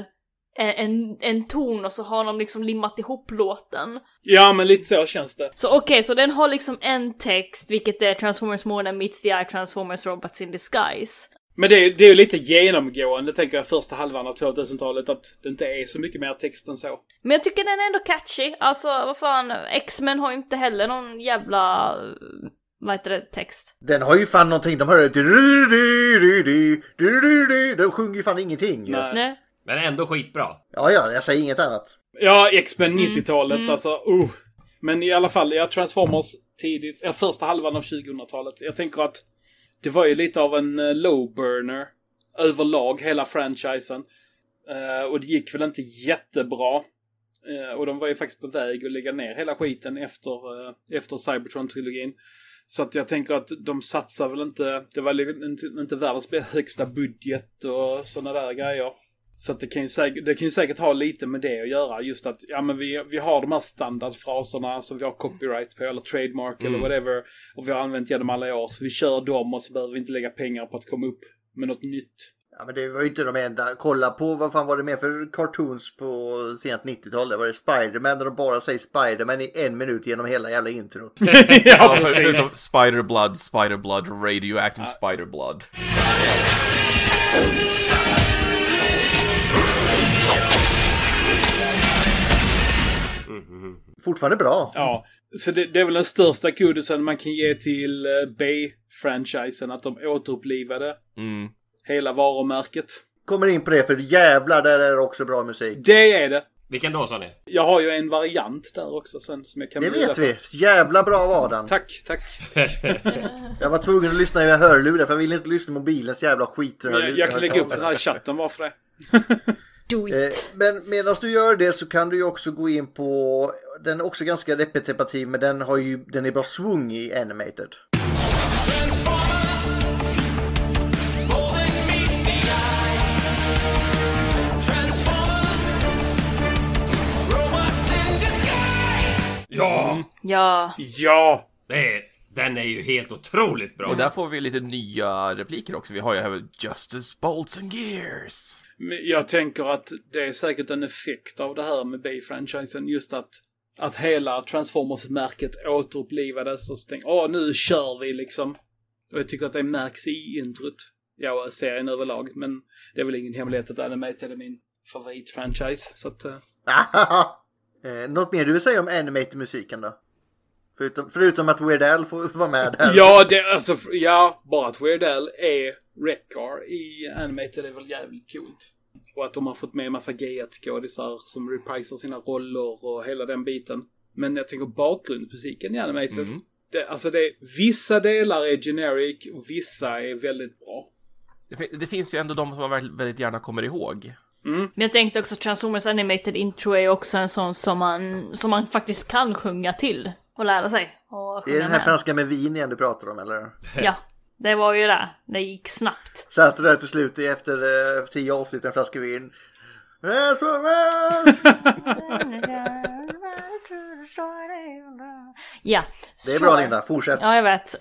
S1: eh, en, en ton och så har de liksom limmat ihop låten.
S6: Ja, men lite så känns det.
S1: Så okej, så den har liksom en text, vilket är Transformers Morning meets the eye, Transformers Robots in Disguise.
S6: Men det, är- det är ju lite genomgående, tänker jag, första halvan av 2000-talet, att det inte är så mycket mer text än så.
S1: Men jag tycker den är ändå catchy, alltså vad fan, X-Men har ju inte heller någon jävla, eh, vad heter det, text.
S3: Den har ju fan någonting. De hör ju... du-du-du-du-du, du-du-du-du. De sjunger ju fan ingenting. ju.
S6: Nej.
S1: Nej.
S10: Men ändå skitbra.
S3: Ja, ja, jag säger inget annat.
S6: Ja, X-Men 90-talet, alltså. Uh. Men i alla fall, jag Transformers tidigt, ja, första halvan av 2000-talet. Jag tänker att det var ju lite av en eh, low burner överlag, hela franchisen. Eh, och det gick väl inte jättebra. Eh, och de var ju faktiskt på väg att lägga ner hela skiten efter, eh, efter Cybertron-trilogin. Så att jag tänker att de satsar väl inte, det var li- inte, inte världens högsta budget och sådana där grejer. Så att det, kan ju säkert, det kan ju säkert ha lite med det att göra. Just att ja, men vi, vi har de här standardfraserna som vi har copyright på eller trademark eller whatever. Och vi har använt genom alla år. Så vi kör dem och så behöver vi inte lägga pengar på att komma upp med något nytt.
S3: Ja men det var ju inte de enda. Kolla på vad fan var det mer för cartoons på sent 90-tal? Det var det Spiderman där de bara säger Spiderman i en minut genom hela jävla introt.
S4: förutom Spider blood, spider blood, radioactive spider blood.
S3: Fortfarande bra.
S6: Ja, så det, det är väl den största kudosen man kan ge till eh, B-franchisen, att de återupplivade
S4: Mm.
S6: hela varumärket.
S3: Kommer in på det för jävlar där är det också bra musik.
S6: Det är det!
S10: Vilken då sa ni?
S6: Jag har ju en variant där också sen som jag kan
S3: Det
S6: bjuda
S3: vet
S6: på.
S3: vi. Jävla bra var den.
S6: Tack, tack.
S3: Jag var tvungen att lyssna med hörlurar för jag ville inte lyssna på mobilens jävla skit.
S6: Jag, jag kan lägga upp den här i chatten bara för det.
S1: Do
S3: Eh, Men medan du gör det så kan du ju också gå in på, den är också ganska repetitiv men den, har ju, den är bra swung i animated.
S10: Ja!
S1: Ja.
S6: Ja!
S10: Det är, den är ju helt otroligt bra.
S4: Och där får vi lite nya repliker också. Vi har ju här Justice Bolts and Gears.
S6: Men Jag tänker att det är säkert en effekt av det här med B-franchisen, just att att hela Transformers-märket återupplivades och så tänkte åh nu kör vi liksom. Och jag tycker att det märks i introt. Ja, och serien överlag, men det är väl ingen hemlighet att Animated är min favoritfranchise. Så att, eh,
S3: eh, något mer du vill säga om animated musiken då? Förutom, förutom att Weird Al får vara med där.
S6: Ja, det, alltså, f- ja, bara att Weird Al är Rekar i Animated är väl jävligt coolt. Och att de har fått med en massa G1-skådisar som reprisar sina roller och hela den biten. Men jag tänker bakgrundsmusiken i Animated.
S10: Mm.
S6: Det, alltså det, vissa delar är generic och vissa är väldigt bra.
S4: Det, fin- det finns ju ändå de som man väldigt, väldigt gärna kommer ihåg.
S1: Men jag tänkte också Transformers Animated Intro är också en sån som man, som man faktiskt kan sjunga till och lära sig. Och
S3: Det är
S1: sjunga
S3: den här
S1: med.
S3: franska med vin igen du pratar om eller?
S1: Ja, det var ju det. Det gick snabbt.
S3: Satt du där till slut efter eh, tio avsnitt en flaska vin. Eh,
S1: Ja.
S3: Det är
S1: så.
S3: bra Linda, fortsätt.
S1: Ja, jag vet.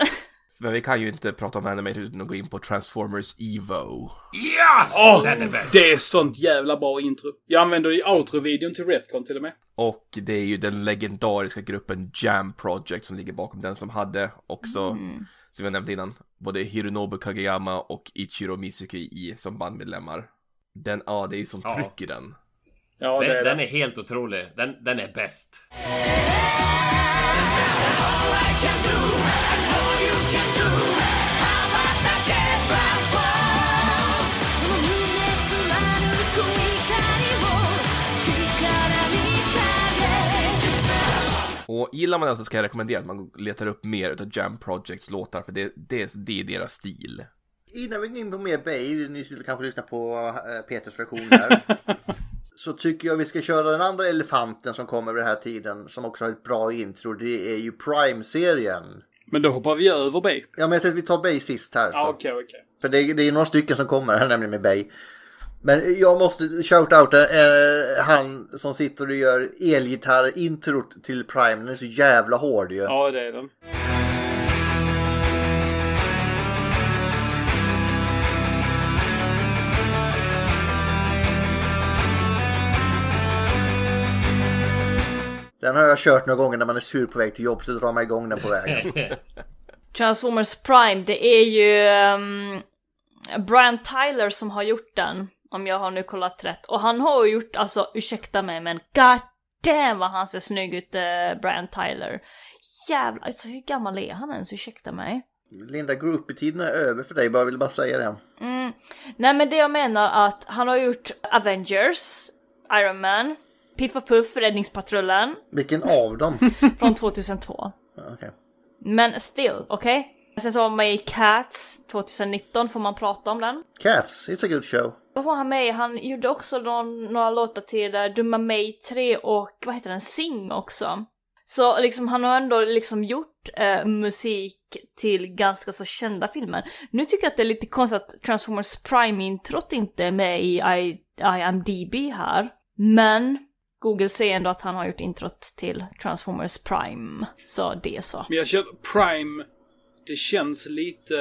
S4: Men vi kan ju inte prata om animated utan att gå in på Transformers Evo.
S10: Ja!
S6: Åh,
S10: Den är väl-
S6: det är sånt jävla bra intro. Jag använder det i outro-videon till Retcon till och med.
S4: Och det är ju den legendariska gruppen Jam Project som ligger bakom den som hade också, som jag nämnde innan, både Hironobu Kageyama och Ichiro Mizuki i, som bandmedlemmar. Den, ja det är ju som
S10: Ja.
S4: tryck i den.
S6: Ja, det
S10: den,
S6: är
S10: den
S6: det.
S10: är helt otrolig. Den, den är bäst.
S4: Och gillar man den så ska jag rekommendera att man letar upp mer utav Jam Projects låtar för det, det, det är deras stil.
S3: Innan vi går in på mer Bay, ni skulle kanske lyssna på eh, Peters version där. så tycker jag vi ska köra den andra elefanten som kommer vid den här tiden som också har ett bra intro. Det är ju Prime-serien.
S6: Men då hoppar vi över B.
S3: Ja men jag tänkte att vi tar Bay sist här.
S6: Ja,
S3: så.
S6: okej, okej.
S3: För det, det är några stycken som kommer här nämligen med Bay. Men jag måste shout out eh, han som sitter och gör elgitarr-introt till Prime. Den är så jävla hård ju.
S6: Ja, det är den.
S3: Den har jag kört några gånger när man är sur på väg till jobb så drar man igång den på vägen.
S1: Transformers Prime, det är ju ehm, Brian Tyler som har gjort den. Om jag har nu kollat rätt. Och han har ju gjort, alltså ursäkta mig men god damn vad han ser snygg ut, eh, Brian Tyler. Jävlar, alltså hur gammal är han ens? Ursäkta mig.
S3: Linda, groupie-tiden är över för dig, bara vill bara säga det.
S1: Mm. Nej men det jag menar att han har gjort Avengers, Iron Man, Piff och Puff, Räddningspatrullen
S3: Vilken av dem?
S1: från 2002.
S3: Ja, Okej.
S1: Men still, okej? Sen så var han med i Cats 2019, får man prata om den?
S3: Cats, it's a good show.
S1: Vad var han med i? Han gjorde också någon, några låtar till eh, Dumma mig 3 och vad heter den? Sing också. Så liksom han har ändå liksom gjort eh, musik till ganska så kända filmer. Nu tycker jag att det är lite konstigt att Transformers Prime-introt inte är med i I, IMDB här. Men Google säger ändå att han har gjort introt till Transformers Prime. Så det så.
S6: Men jag känner eh, Prime, det känns lite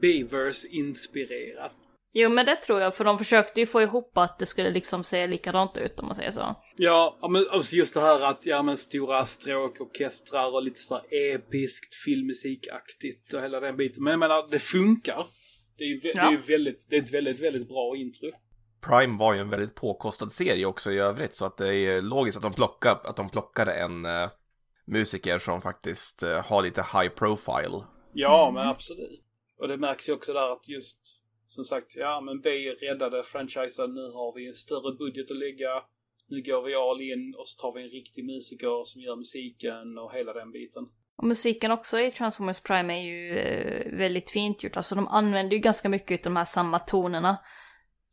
S6: Beavers inspirerat.
S1: Jo men det tror jag, för de försökte ju få ihop att det skulle liksom se likadant ut om man säger så.
S6: Ja, ja, men alltså just det här att, ja men stora stråk, orkestrar och lite så här episkt filmmusikaktigt och hela den biten. Men jag menar, det funkar. Det är ju vä-
S4: Ja.
S6: det är ju väldigt, det är ett väldigt, väldigt bra intro.
S4: Prime var ju en väldigt påkostad serie också i övrigt så att det är logiskt att de, plocka, att de plockade en eh, musiker som faktiskt eh, har lite high profile.
S6: Ja,
S1: Mm.
S6: men absolut. Och det märks ju också där att just, som sagt, ja men vi räddade franchisen, nu har vi en större budget att lägga. Nu går vi all in och så tar vi en riktig musiker som gör musiken och hela den biten.
S1: Och musiken också i Transformers Prime är ju eh, väldigt fint gjort. Alltså de använder ju ganska mycket av de här samma tonerna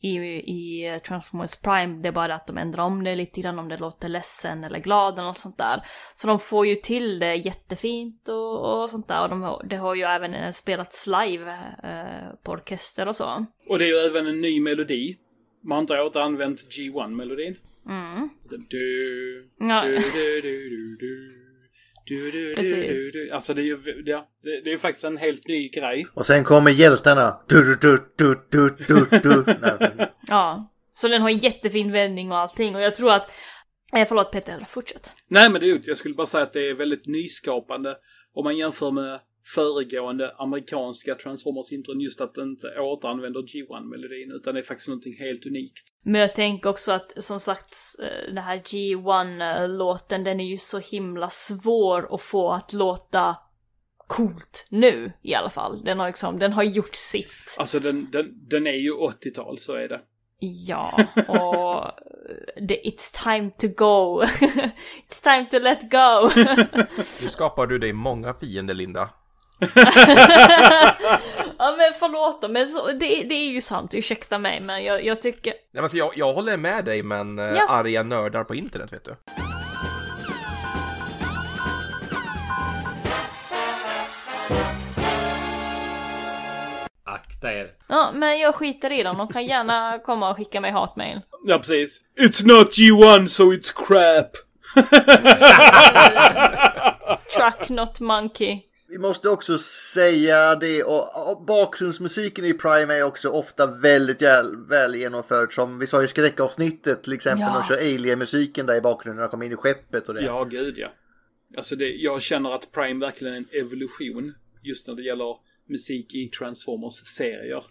S1: i, i eh, Transformers Prime. Det är bara att de ändrar om det lite grann om det låter ledsen eller glad eller något sånt där. Så de får ju till det jättefint och, och sånt där. Och de, har- det har ju även eh, spelats live eh, på orkester och så.
S6: Och det är ju även en ny melodi. Man har inte återanvänt G1-melodin.
S1: Mm.
S6: Du, du,
S1: Ja.
S6: du, du, du, du. Du, du, du, du,
S1: Precis.
S6: du. Alltså det är ju ja, det, det är ju faktiskt en helt ny grej.
S3: Och sen kommer hjältarna. Du, du, du, du, du, du. Nej,
S1: Ja, så den har en jättefin vändning och allting. Och jag tror att... Eh, förlåt Peter, fortsätt.
S6: Nej men det är ju, jag skulle bara säga att det är väldigt nyskapande om man jämför med föregående amerikanska Transformers-intron just att den inte återanvänder G1-melodin utan det är faktiskt någonting helt unikt.
S1: Men jag tänker också att som sagt eh, den här G1-låten den är ju så himla svår att få att låta coolt nu i alla fall. Den har liksom, den har gjort sitt.
S6: Alltså den, den, den är ju 80-tal, så är det.
S1: Ja, och eh, det, it's time to go. it's time to let go.
S4: Nu skapar du dig många fiender Linda.
S1: ja men förlåt då, men så, det, det är ju sant, ursäkta mig men jag, jag tycker
S4: Nej, men alltså, jag, jag håller med dig men eh,
S1: Ja.
S4: arga nördar på internet vet du.
S10: Akta er.
S1: Ja, men jag skiter i dem. De kan gärna komma och skicka mig hatmejl.
S6: Ja, precis. It's not G1 so it's crap!
S1: Truck not monkey.
S3: Vi måste också säga det och och bakgrundsmusiken i Prime är också ofta väldigt jäl- väl genomförd som vi sa i skräckavsnittet till exempel
S6: Ja.
S3: när de kör Alien-musiken där i bakgrunden när de kommer in i skeppet och det.
S6: Ja, gud ja. Alltså det, jag känner att Prime verkligen är en evolution just när det gäller musik i Transformers-serier.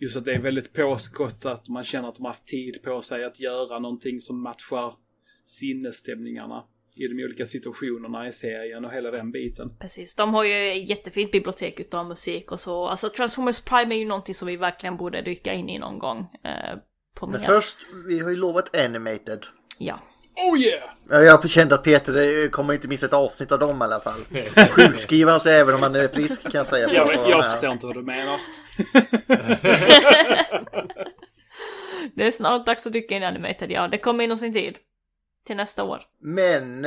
S6: Just att det är väldigt påskottat, man känner att de har haft tid på sig att göra någonting som matchar sinnesstämningarna i de olika situationerna i serien och hela den biten.
S1: Precis, de har ju ett jättefint bibliotek utav musik och så. Alltså Transformers Prime är ju någonting som vi verkligen borde dyka in i någon gång. Eh, på
S3: Men
S1: mer.
S3: först, vi har ju lovat Animated.
S1: Ja.
S6: Oh yeah!
S3: Ja, Jag kände att Peter eh, kommer inte missa ett avsnitt av dem i alla fall. Sjukskriva han sig även om han är frisk kan jag säga.
S6: Jag,
S3: Ja,
S6: jag förstår inte vad du menar.
S1: Det är snart dags att dyka in i Animated, ja. Det kommer inom sin tid. Till nästa år.
S3: Men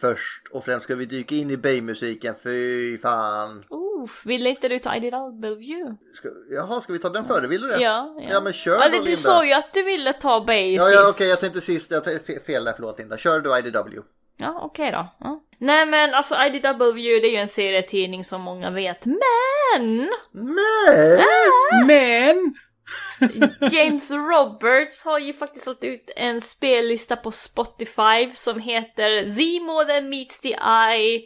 S3: först och främst ska vi dyka in i Bay-musiken. Fy fan.
S1: Oh, ville inte du ta IDW?
S3: Ska, jaha, ska vi ta den före? Vill du det?
S1: Ja, ja.
S3: Ja, men kör
S1: Eller, Du
S3: då, Linda.
S1: sa ju att du ville ta Bay
S3: Ja,
S1: sist.
S3: ja okej, jag tänkte sist. Jag tänkte fe- fel där, förlåt Linda. Kör du IDW.
S1: Ja, okej då. Ja. Nej men alltså IDW det är ju en serietidning som många vet, men!
S3: Men! Ah.
S6: Men!
S1: James Roberts har ju faktiskt lagt ut en spellista på Spotify som heter The More Than Meets The Eye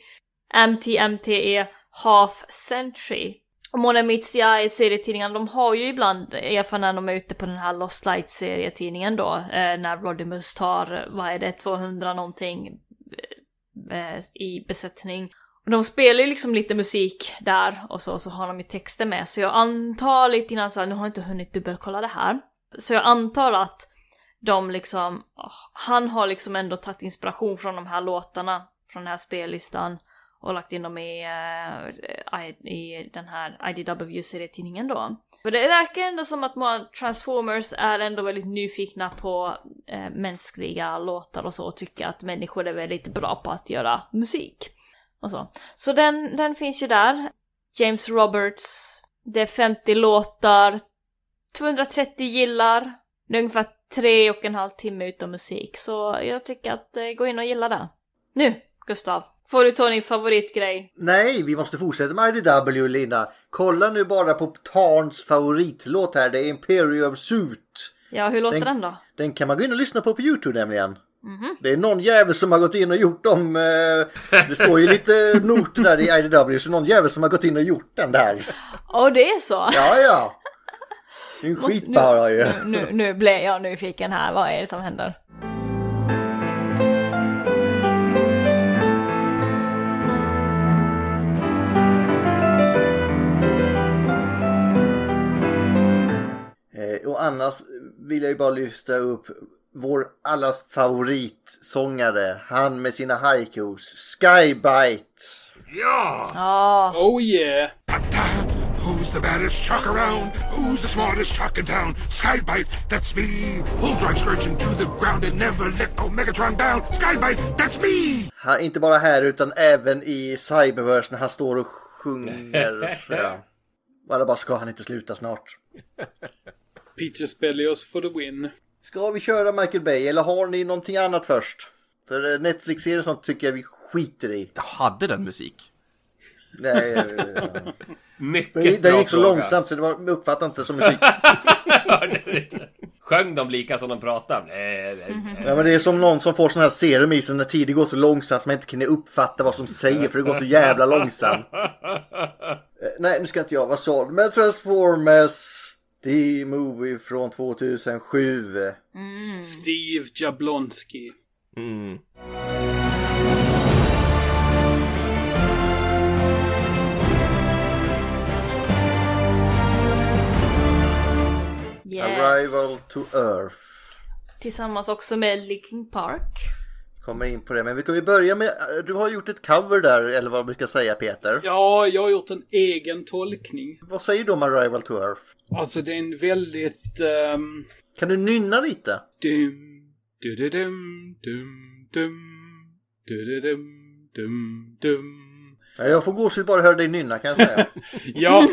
S1: MTMTE E, Half Century. Och More Than Meets The Eye serietidningarna, de har ju ibland, i alla fall när de är ute på den här Lost Light serietidningen då, eh, när Rodimus tar, vad är det, 200 någonting eh, i besättning. Och de spelar ju liksom lite musik där och så, och så har de ju texter med. Så jag antar lite innan så här, nu har jag inte hunnit dubbelkolla det här. Så jag antar att de liksom, han har liksom ändå tagit inspiration från de här låtarna, från den här spellistan och lagt in dem i, eh, i- i den här IDW-serietidningen då. För det verkar ändå som att många Transformers är ändå väldigt nyfikna på eh, mänskliga låtar och så och tycker att människor är väldigt bra på att göra musik. Och så så den, den finns ju där. James Roberts, det är 50 låtar, 230 gillar, det är ungefär tre och en halv timme utav musik. Så jag tycker att eh, gå in och gilla den. Nu Gustav, får du ta din favoritgrej?
S3: Nej, vi måste fortsätta med IDW Lina. Kolla nu bara på Tarns favoritlåt här, det är Imperium Suit.
S1: Ja, hur låter den, då?
S3: Den kan man gå in och lyssna på på YouTube nämligen.
S1: Mhm.
S3: Det är någon jävel som har gått in och gjort dem. Eh, det står ju lite noter där i IDW, så någon jävel som har gått in och gjort den där.
S1: Åh, det är så?
S3: Ja, ja. Det är en
S1: Måste-
S3: skit bara ju.
S1: Nu, nu blev jag nyfiken här, vad är det som händer?
S3: Eh, och annars vill jag ju bara lyfta upp vår allas favoritsångare, han med sina haikus, Skybite.
S6: Ja!
S1: Ja!
S6: Oh yeah!
S12: uh, Who's the baddest shark around? Who's the smartest shark in town? Skybite, that's me. Who'll drive Scourgeon to the ground and never let old Megatron down? Skybite, that's me.
S3: Han, inte bara här utan även i Cyberverse när han står och sjunger. ja. Och alla bara, ska han inte sluta snart?
S6: Peter Spelios for the win.
S3: Ska vi köra Michael Bay eller har ni någonting annat först? För eh, Netflix-serier och sånt tycker jag vi skiter i.
S4: Jag hade den musik.
S3: Nej, eh,
S10: Mycket
S3: det, det
S10: bra
S3: gick så
S10: fråga.
S3: långsamt så det var, uppfattade inte som musik.
S10: Hörde du inte? Sjöng de lika som de pratade? Nej, nej, nej.
S3: Ja, men det är som någon som får sån här serum i sig när tiden går så långsamt så man inte kan uppfatta vad som säger för det går så jävla långsamt. Eh, Nej, nu ska inte jag vara såld. Men Transformers, The Movie från 2007. Mm.
S6: Steve Jablonski.
S1: Yes.
S3: Arrival to Earth.
S1: Tillsammans också med Linkin Park.
S3: Kommer in på det, men vi kan vi börja med, eh, du har gjort ett cover där, eller vad vi ska säga Peter.
S6: Ja, jag har gjort en egen tolkning.
S3: Vad säger du om Arrival to Earth?
S6: Alltså det är en väldigt... ehm,
S3: Kan du nynna lite?
S6: Dum, du-du-dum, dum, dum, du-du-dum, dum, dum.
S3: Ja, jag får gåshud bara höra dig nynna kan jag säga.
S6: Ja,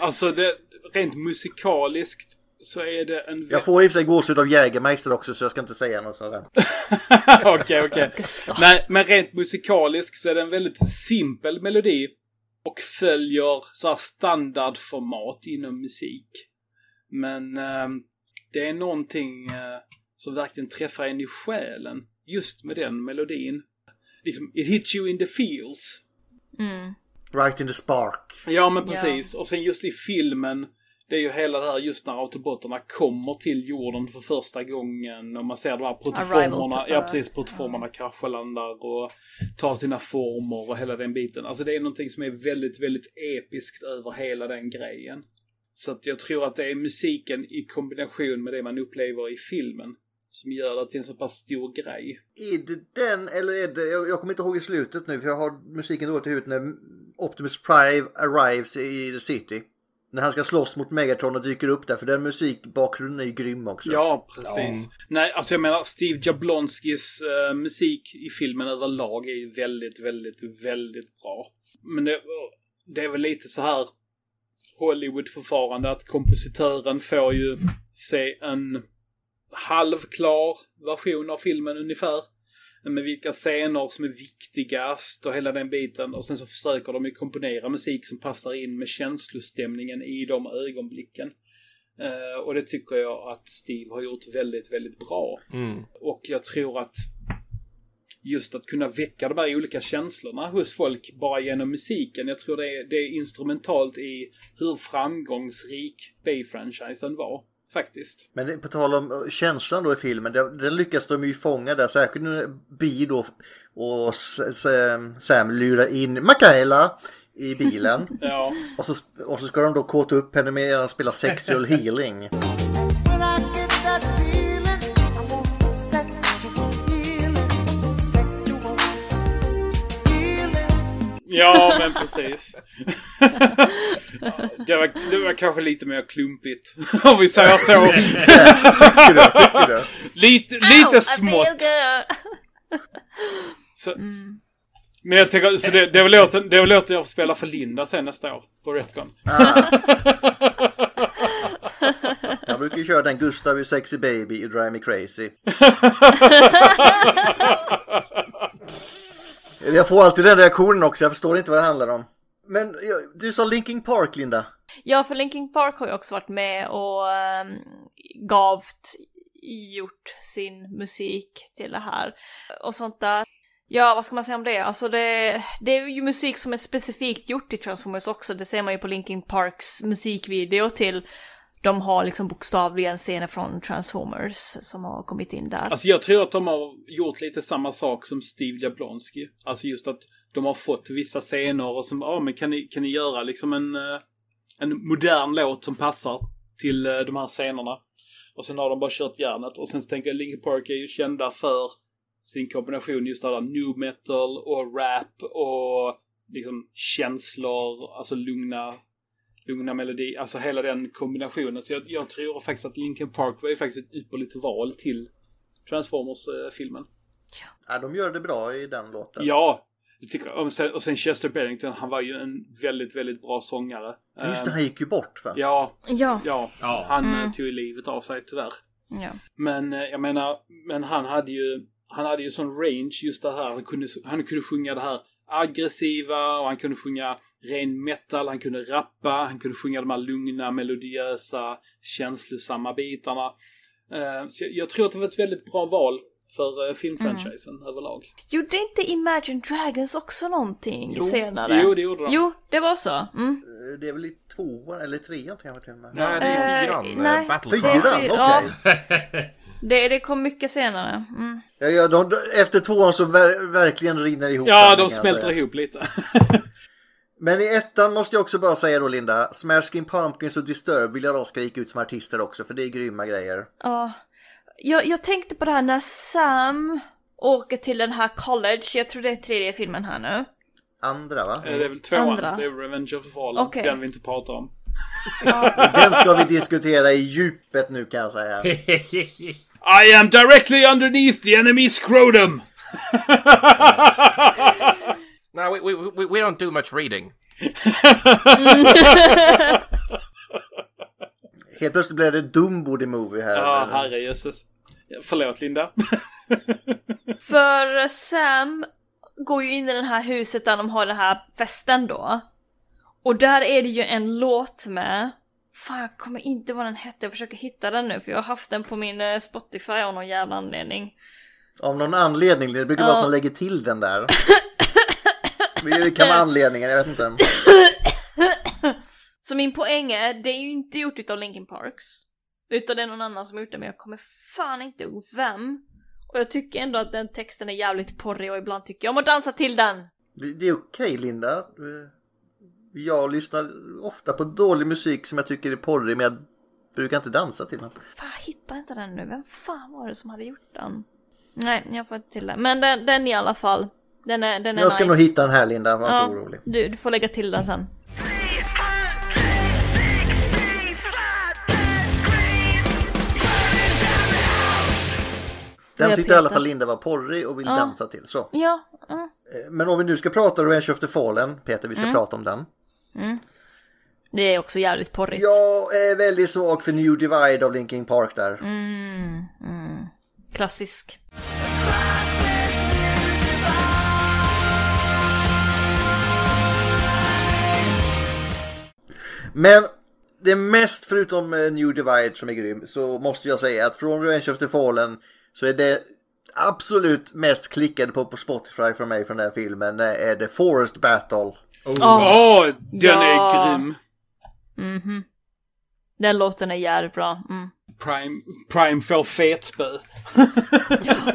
S6: alltså det, rent musikaliskt så är det en... vä-
S3: Jag får i och för sig gåshud av Jägermeister också så jag ska inte säga något sådär.
S6: Okej, okej. Nej, men rent musikaliskt så är det en väldigt simpel melodi och följer så här standardformat inom musik. Men ehm, det är någonting eh, som verkligen träffar en i själen just med den melodin. Liksom, it hits you in the feels.
S1: Mm.
S3: Right in the spark.
S6: Ja, men precis. Och sen just i filmen, det är ju hela det här just när autobotarna kommer till jorden för första gången och man ser de här
S13: Arrival
S6: protoformerna,
S13: to
S6: typ, ja
S13: Earth.
S6: precis, protoformerna kraschlandar och tar sina former och hela den biten. Alltså det är någonting som är väldigt, väldigt episkt över hela den grejen. Så att jag tror att det är musiken i kombination med det man upplever i filmen som gör det till en så pass stor grej.
S3: Är det den eller är det, jag, jag kommer inte ihåg i slutet nu för jag har musiken dåligt i huvudet när Optimus Prime arrives i the city. När han ska slåss mot Megatron och dyker upp där för den musikbakgrunden är ju grym också.
S6: Ja, precis. Nej, alltså jag menar Steve Jablonskis eh, musik i filmen överlag är ju väldigt, väldigt, väldigt bra. Men det, det är väl lite så här Hollywood-förfarande att kompositören får ju se en halvklar version av filmen ungefär. Med vilka scener som är viktigast och hela den biten. Och sen så försöker de ju komponera musik som passar in med känslostämningen i de ögonblicken. Eh, och det tycker jag att Steve har gjort väldigt, väldigt bra.
S4: Mm.
S6: Och jag tror att just att kunna väcka de här olika känslorna hos folk bara genom musiken. Jag tror det är, det är instrumentalt i hur framgångsrik Bay-franchisen var, faktiskt.
S3: Men det- på tal om eh, känslan då i filmen, den, den lyckas de ju fånga där, särskilt när Bi då och S- Sam, Sam lurar in Mikaela i bilen.
S6: Ja.
S3: och, så, och så ska de då kåta upp henne med att spela sexual healing.
S7: When I get that feeling, I want sexual healing, sexual healing.
S6: Ja, men precis. Ja, det, var, det var kanske lite mer klumpigt, om vi säger så.
S1: Tycker du? Tycker du?
S6: Lite,
S1: Ow, I
S6: lite
S1: feel
S6: smått.
S1: good.
S6: Så, Men jag tänker, så det, det, är väl låten, det är väl låten jag får spela för Linda sen nästa år, på Retcon.
S3: Jag brukar ju köra den Gustav är sexy baby i Drive Me Crazy. Jag får alltid den reaktionen också, jag förstår inte vad det handlar om. Men ja, du sa Linkin Park, Linda.
S1: Ja, för Linkin Park har ju också varit med och ehm, gavt gjort sin musik till det här och sånt där. Ja, vad ska man säga om det? Alltså det, det är ju musik som är specifikt gjort till Transformers också. Det ser man ju på Linkin Parks musikvideo till. De har liksom bokstavligen scener från Transformers som har kommit in där.
S6: Alltså jag tror att de har gjort lite samma sak som Steve Jablonski. Alltså just att de har fått vissa scener och som, ja ah, men kan ni, kan ni göra liksom en, eh, en modern låt som passar till eh, de här scenerna. Och sen har de bara kört järnet och sen så tänker jag Linkin Park är ju kända för sin kombination just av new metal och rap och liksom känslor, alltså lugna lugna melodi, alltså hela den kombinationen. Så jag, jag tror faktiskt att Linkin Park var ju faktiskt ett ypperligt val till Transformers-filmen.
S3: Ja, de gör det bra i den låten.
S6: Ja! det tycker jag. Och sen, och sen Chester Bennington, han var ju en väldigt, väldigt bra sångare.
S3: Just det,
S6: Eh,
S3: han gick ju bort va?
S6: Ja.
S1: Ja.
S6: ja.
S10: Ja.
S6: Han eh,
S1: Mm.
S6: tog ju livet av sig tyvärr.
S1: Ja.
S6: Men eh, jag menar, men han hade ju, han hade ju sån range just det här. Han kunde, han kunde sjunga det här aggressiva och han kunde sjunga ren metal, han kunde rappa, han kunde sjunga de här lugna, melodiösa, känslosamma bitarna. Eh, Så jag, jag tror att det var ett väldigt bra val för eh, filmfranchisen
S1: Mm.
S6: överlag.
S1: Gjorde inte Imagine Dragons också någonting
S6: Jo.
S1: senare?
S6: Jo, det gjorde de.
S1: Jo, det var så. Mm.
S3: Det är väl i tvåan eller trean tänker jag till och med.
S4: Nej, det är
S1: Eh,
S4: fyran. eh,
S1: nej.
S4: Battlecry.
S3: Fyran, okej.
S1: Ja. Det, det kom mycket senare. Mm.
S3: Ja, ja, de, de, efter tvåan så ver, verkligen rinner ihop.
S6: Ja,
S3: den,
S6: de
S3: kan jag
S6: smälter
S3: säga.
S6: ihop lite.
S3: Men i ettan måste jag också bara säga då Linda, Smashing Pumpkins och Disturbed vill jag då ska gick ut som artister också för det är grymma grejer.
S1: Ja. Jag, jag tänkte på det här när Sam åker till den här college, jag tror det är tredje filmen här nu.
S3: Andra va?
S6: Eh, Det är väl tvåan,
S1: Andra.
S6: det är Revenge of the Fallen,
S1: Okej.
S6: den vi inte pratar om.
S3: Den ska vi diskutera i djupet nu kan jag säga.
S6: I am directly underneath the enemy's scrotum!
S4: No, we, we, we, we don't do much reading.
S3: Helt plötsligt blev det Dumbo the Movie här.
S6: Ja, herrejösses. Förlåt Linda.
S1: För Sam går ju in i det här huset där de har den här festen då. Och där är det ju en låt med. Fan, jag kommer inte vad den hette, jag försöker hitta den nu för jag har haft den på min eh, Spotify av någon jävla anledning.
S3: Av någon anledning, det brukar vara
S1: Ja.
S3: att man lägger till den där. Det kan vara anledningen, jag vet inte.
S1: Så min poäng är, det är ju inte gjort utav Linkin Parks. Utan det är någon annan som har gjort det, men jag kommer fan inte ihåg vem. Och jag tycker ändå att den texten är jävligt porrig och ibland tycker jag om att dansa till den.
S3: Det, det är okej Linda. Eh, Jag lyssnar ofta på dålig musik som jag tycker är porrig men jag brukar inte dansa till den.
S1: Fan, jag hittar inte den nu. Vem fan var det som hade gjort den? Nej, jag får inte till den. Men den, den i alla fall. Den är, den är
S3: Jag ska
S1: nice.
S3: nog hitta den här Linda, var
S1: Ja,
S3: inte orolig.
S1: Du, du får lägga till den sen.
S3: Den
S1: jag
S3: tyckte i alla
S1: peta?
S3: fall Linda var porrig och ville
S1: Ja.
S3: dansa till. Så.
S1: Ja, ja.
S3: Eh, Men om vi nu ska prata om Revenge of the Fallen, Peter, vi ska
S1: Mm.
S3: prata om den.
S1: Det är också jävligt porrigt.
S3: Jag är väldigt svag för New Divide av Linkin Park där.
S1: Mm, mm. Klassisk.
S3: Men det är mest förutom eh, New Divide som är grym så måste jag säga att från Revenge of the Fallen så är det absolut mest klickade på på Spotify från mig från den här filmen det är The Forest Battle.
S6: Åh, den
S1: Ja.
S6: är grym!
S1: Mhm. Den låten är jävligt bra. Mm.
S6: Prime, Prime får fetspö.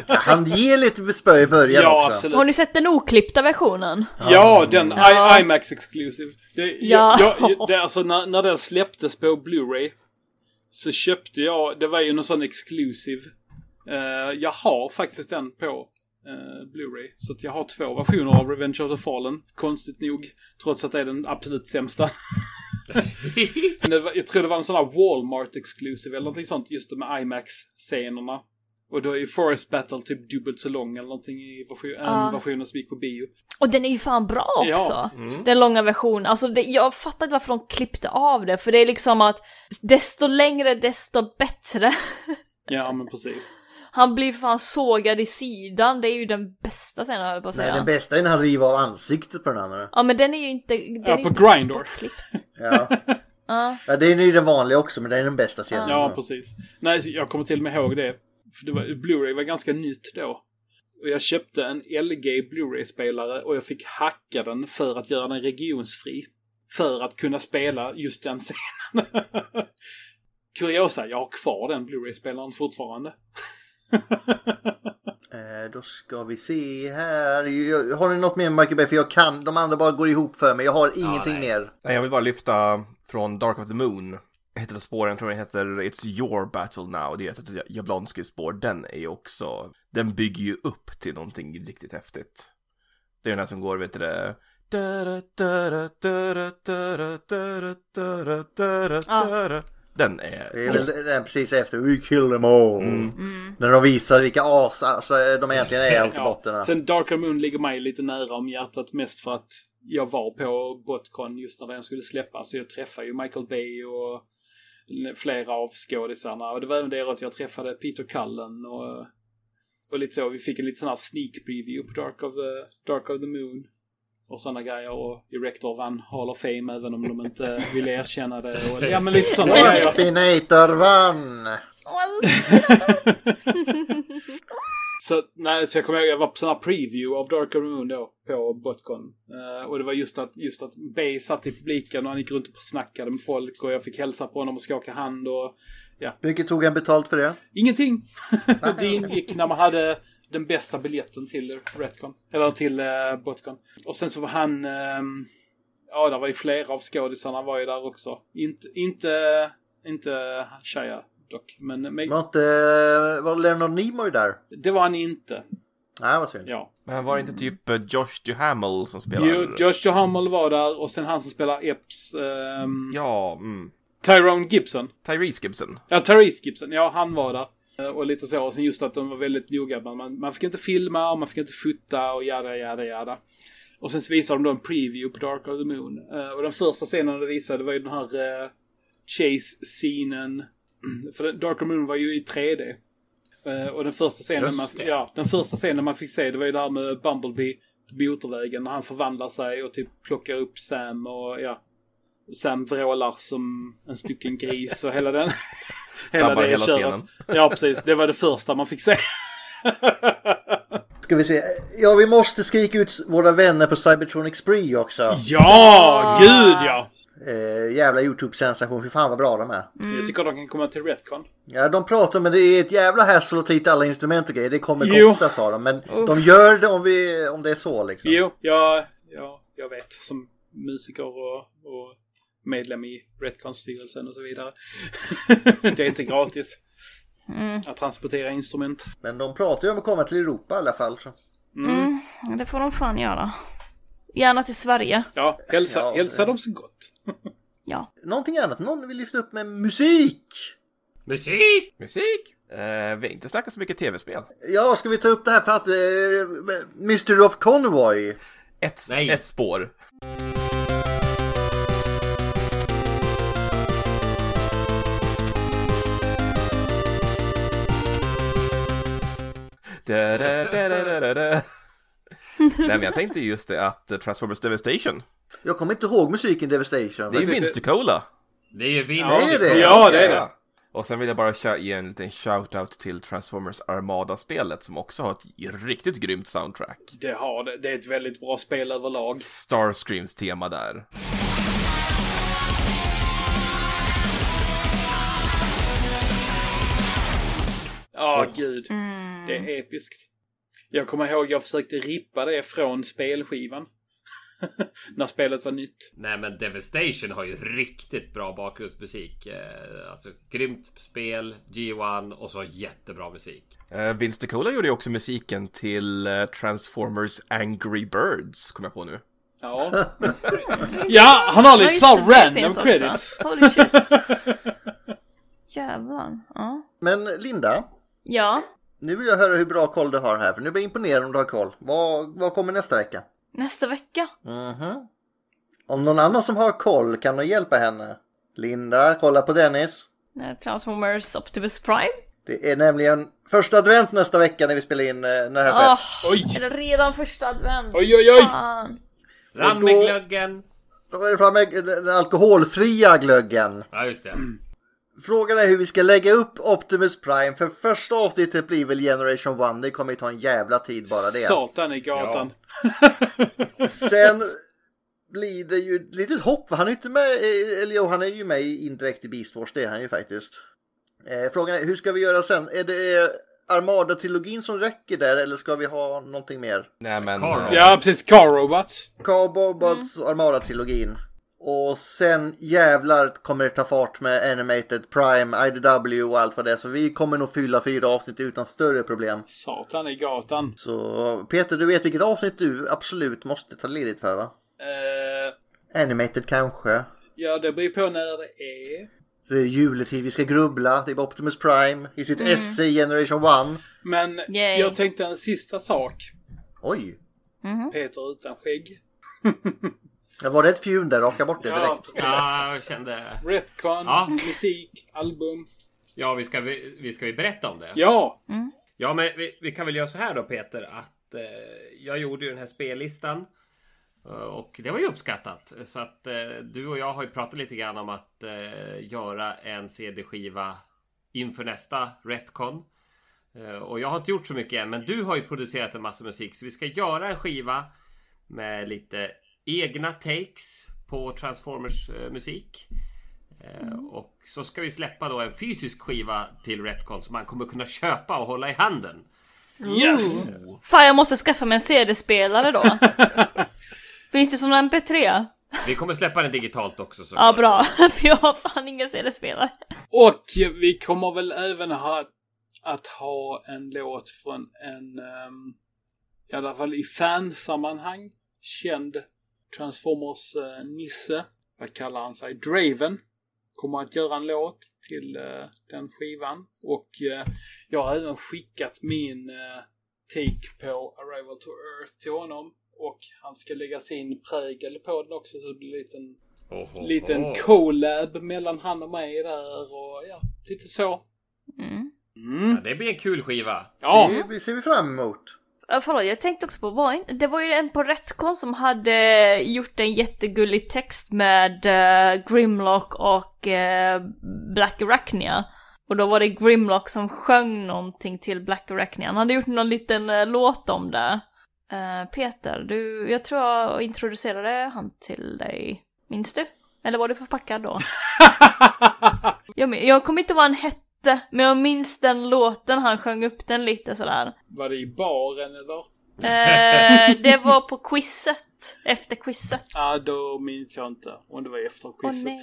S3: Han ger lite spö i början
S6: Ja,
S3: också.
S6: absolut.
S1: Har ni sett den oklippta versionen?
S6: Ja, den
S1: Ja.
S6: I, IMAX Exclusive. Det,
S1: Ja.
S6: ja. jag, det, alltså, när, när den släpptes på Blu-ray så köpte jag, det var ju någon sån exclusive. Eh, jag har faktiskt den på eh, Blu-ray. Så att jag har två versioner av Revenge of the Fallen. Konstigt nog. Trots att det är den absolut sämsta. Men det var, jag tror det var en sån här Walmart exclusive eller någonting sånt. Just det med IMAX-scenerna. Och då är ju Forest Battle typ dubbelt så lång eller någonting i version,
S1: Ja.
S6: än versionen som gick på bio.
S1: Och den är ju fan bra
S6: Ja.
S1: också!
S6: Mm.
S1: Den långa versionen. Alltså det, jag fattar inte varför de klippte av det, för det är liksom att desto längre desto bättre.
S6: Ja, men precis.
S1: Han blir för fan sågad i sidan, det är ju den bästa scenen höll jag på att
S3: Nej,
S1: säga.
S3: den bästa är när han river av ansiktet på den andra.
S1: Ja men den är ju inte... Den
S3: Ja,
S1: är ju
S3: på
S1: inte
S6: Grindr.
S1: bortklippt.
S3: Ja.
S1: Ja.
S3: ja, det är ju den vanliga också, men det är den bästa scenen.
S6: Ja, precis. Nej, så jag kommer till och med ihåg det. För det var, Blu-ray var ganska nytt då. Och jag köpte en LG Blu-ray-spelare och jag fick hacka den för att göra den regionsfri. För att kunna spela just den scenen. Kuriosa, jag har kvar den Blu-ray-spelaren fortfarande.
S3: Eh, då ska vi se här. Jag- Har ni något mer Michael Bay? För jag kan, de andra bara går ihop för mig. Jag har ingenting mer.
S4: Nej, jag vill bara lyfta från Dark of the Moon. Heter spåren, tror jag heter It's your battle now. Det är ett Jablonskis spår. Den är ju också, den bygger ju upp till någonting riktigt häftigt. Det är den här som går, vet du det. Den är...
S3: Det är väl den- den precis efter We kill them all.
S6: Mm.
S3: När de visar vilka as alltså, de egentligen är, allt i botten.
S6: Sen Darker Moon ligger mig lite nära om hjärtat mest för att jag var på Botcon just när den skulle släppas. Så jag träffade ju Michael Bay och flera av skådisarna. Och det var även det att jag träffade Peter Cullen och, och lite så. Vi fick en liten sån här sneak preview på Dark of the, Dark of the Moon. Och sådana grejer. Och Erector vann Hall of Fame även om de inte ville erkänna det. Och, ja men lite sådana grejer.
S3: Waspinator vann!
S6: Så, nej, så jag kommer ihåg, jag var på sån här preview av Darker Moon då, på Botcon. Eh, och det var just att, just att Bay satt i publiken och han gick runt och snackade med folk och jag fick hälsa på honom och skaka hand och ja.
S3: Hur mycket tog han betalt för det?
S6: Ingenting! det ingick när man hade den bästa biljetten till Retcon. Eller till uh, Botcon. Och sen så var han... ehm, ja, där var ju flera av skådisarna var ju där också. Inte... Inte... Inte Shia dock. Men, men
S3: Var inte eh, var Leonard Nimoy där?
S6: det var han inte.
S3: Nej, vad synd.
S6: Ja.
S4: Men var det inte typ eh, Josh Duhamel som spelar?
S6: Jo, Josh Duhamel var där och sen han som spelar Epps... ehm,
S4: Ja, mm.
S6: Tyrone Gibson.
S4: Tyrese Gibson.
S6: Ja, Therese Gibson. Ja, han var där. Eh, Och lite så. Och sen just att de var väldigt noga. Man, man, man fick inte filma och man fick inte fota och jada, jada, jada. Och sen så visade de då en preview på Dark of the Moon. Eh, Och den första scenen de visade var ju den här eh, chase-scenen. För den- Dark of the Moon var ju i 3D. Eh, Och den första scenen,
S10: Just
S6: man,
S10: det.
S6: ja, den första scenen man fick se det var ju det här med Bumblebee på motorvägen. När han förvandlar sig och typ plockar upp Sam och ja. Sam vrålar som en stycken gris och hela den...
S4: Sabbar hela
S6: köret.
S4: scenen.
S6: Ja, precis. Det var det första man fick se.
S3: Ska vi se. Ja, vi måste skrika ut våra vänner på Cybertronics Spree också.
S6: Ja, gud ja!
S3: Eh, jävla YouTube-sensation. Fy fan vad bra de är.
S6: Jag tycker de kan komma till Retcon.
S3: Ja, de pratar men det är ett jävla hassle att ta hit alla instrument och grejer. Det kommer
S6: Jo.
S3: kosta sa de. Men
S6: Uff.
S3: de gör det om, vi, om det är så liksom.
S6: Jo, ja, ja, jag vet. Som musiker och, och medlem i Retcon-styrelsen och så vidare. det är inte gratis
S1: Mm.
S6: att transportera instrument.
S3: Men de pratar ju om att komma till Europa i alla fall. Så.
S1: Mm, det får de fan göra. Gärna till Sverige.
S6: Ja, hälsa,
S1: Ja,
S6: hälsa dem så gott.
S1: Ja.
S3: Någonting annat någon vill lyfta upp med musik?
S4: Musik! Musik! Eh, vi har inte snackat så mycket tv-spel.
S3: Ja, ska vi ta upp det här för att eh, Mystery of Convoy.
S4: Ett, ett spår. Da, da, da, da, da, da, da. Nej men jag tänkte just det att eh, Transformers Devastation,
S3: Jag kommer inte ihåg musiken Devastation.
S4: det är ju Vince Ducola.
S10: Det är ju Vince.
S3: Ja, det är det.
S6: Ja, det är det.
S4: Och sen vill jag bara kö- ge en liten shout-out till Transformers Armada-spelet som också har ett riktigt grymt soundtrack.
S6: Det, har, det. det är ett väldigt bra spel överlag.
S4: Starscreams tema där.
S6: Ja, gud.
S1: Mm.
S6: Det är episkt. Jag kommer ihåg jag försökte rippa det från spelskivan. När spelet var nytt.
S10: Nej men Devastation har ju riktigt bra bakgrundsmusik. Eh, Alltså grymt spel, G1 och så jättebra musik.
S4: Eh, Vince DiCola gjorde ju också musiken till eh, Transformers Angry Birds, kom jag på nu.
S6: Ja. ja, han har
S1: Ja,
S6: lite
S1: just
S6: såhär
S1: det, det
S6: random
S1: finns också.
S6: credits.
S1: Holy shit. Jävlar. Ja.
S3: Men Linda,
S1: ja.
S3: nu vill jag höra hur bra koll du har här. För nu blir jag imponerad om du har koll. Vad, vad kommer nästa vecka?
S1: Nästa vecka.
S3: Mhm. Om någon annan som har koll kan du hjälpa henne? Linda, kolla på Dennis.
S1: När Transformers Optimus Prime.
S3: Det är nämligen första advent nästa vecka när vi spelar in eh, när det här
S1: Ah,
S3: släpps.
S1: är det redan första advent?
S3: Oj, oj, oj.
S1: Fan.
S3: Fram med
S10: glöggen!
S3: Då är det framme eh, den alkoholfria glöggen.
S10: Ja, just det.
S3: Frågan är hur vi ska lägga upp Optimus Prime för första avsnittet blir väl Generation 1. Det kommer ju ta en jävla tid bara det.
S6: Satan i gatan.
S3: Sen blir det ju ett litet hopp. för Han är ju inte med, eh, eller jo, han är ju med i- indirekt i Beast Wars, det är han ju faktiskt. Eh, frågan är hur ska vi göra sen? Är det eh, Armada-trilogin som räcker där eller ska vi ha någonting mer?
S4: Nej men... eh,
S6: Ja, precis. Car Robots.
S3: Car Robots,
S6: Mm.
S3: Armada-trilogin. Och sen jävlar kommer det ta fart med Animated Prime, IDW och allt vad det är. Så vi kommer nog fylla fyra avsnitt utan större problem.
S6: Satan i gatan.
S3: Så Peter, du vet vilket avsnitt du absolut måste ta ledigt för va?
S6: Eh,
S3: Animated kanske?
S6: ja, det beror på när det är.
S3: Det är juletid, vi ska grubbla. Det är Optimus Prime
S6: Mm.
S3: i sitt esse i Generation 1.
S6: Men jag tänkte en sista sak.
S3: Oj!
S6: Peter utan skägg.
S3: Ja, Var det ett fjun där? Raka bort det
S6: Ja,
S3: direkt.
S10: Ja, jag kände...
S6: Retcon,
S10: Ja.
S6: musik, album.
S10: Ja, vi ska, vi, vi ska vi berätta om det?
S6: Ja!
S10: Ja, men vi, vi kan väl göra så här då Peter att eh, jag gjorde ju den här spellistan eh, och det var ju uppskattat. Så att eh, du och jag har ju pratat lite grann om att eh, göra en CD-skiva inför nästa Retcon. Eh, och jag har inte gjort så mycket än, men du har ju producerat en massa musik så vi ska göra en skiva med lite egna takes på Transformers eh, musik. Eh, Och så ska vi släppa då en fysisk skiva till Retcon som man kommer kunna köpa och hålla i handen.
S1: Yes! Fan, jag måste skaffa mig en CD-spelare då. Finns det som en MP3?
S10: Vi kommer släppa den digitalt också. Så
S1: Ja, bra. För jag har fan ingen CD-spelare.
S6: Och vi kommer väl även ha att ha en låt från en, ehm, i alla fall i fansammanhang, känd Transformers-nisse. Vad kallar han sig? Draven. Kommer att göra en låt till eh, den skivan. Och eh, jag har även skickat min eh, take på Arrival to Earth till honom. Och han ska lägga sin prägel på den också så det blir en liten liten collab mellan han och mig där och ja, lite så.
S1: Mm.
S10: Ja, det blir en kul skiva.
S6: Ja.
S3: Det ser vi fram emot.
S1: Ja, Förlåt, jag tänkte också på, var inte, det var ju en på Retcon som hade gjort en jättegullig text med eh, Grimlock och eh, Black Arachnia. Och då var det Grimlock som sjöng någonting till Black Arachnia. Han hade gjort någon liten eh, låt om det. Eh, Peter, du, jag tror jag introducerade han till dig. Minns du? Eller var du förpackad då? jag, min- jag kommer inte ihåg vad han hette, men jag minns den låten han sjöng upp den lite sådär.
S6: Var det i baren eller?
S1: Eh, det var på quizet, efter quizet.
S6: Ja, då minns jag inte om det var efter
S1: Åh
S6: quizet.
S1: nej.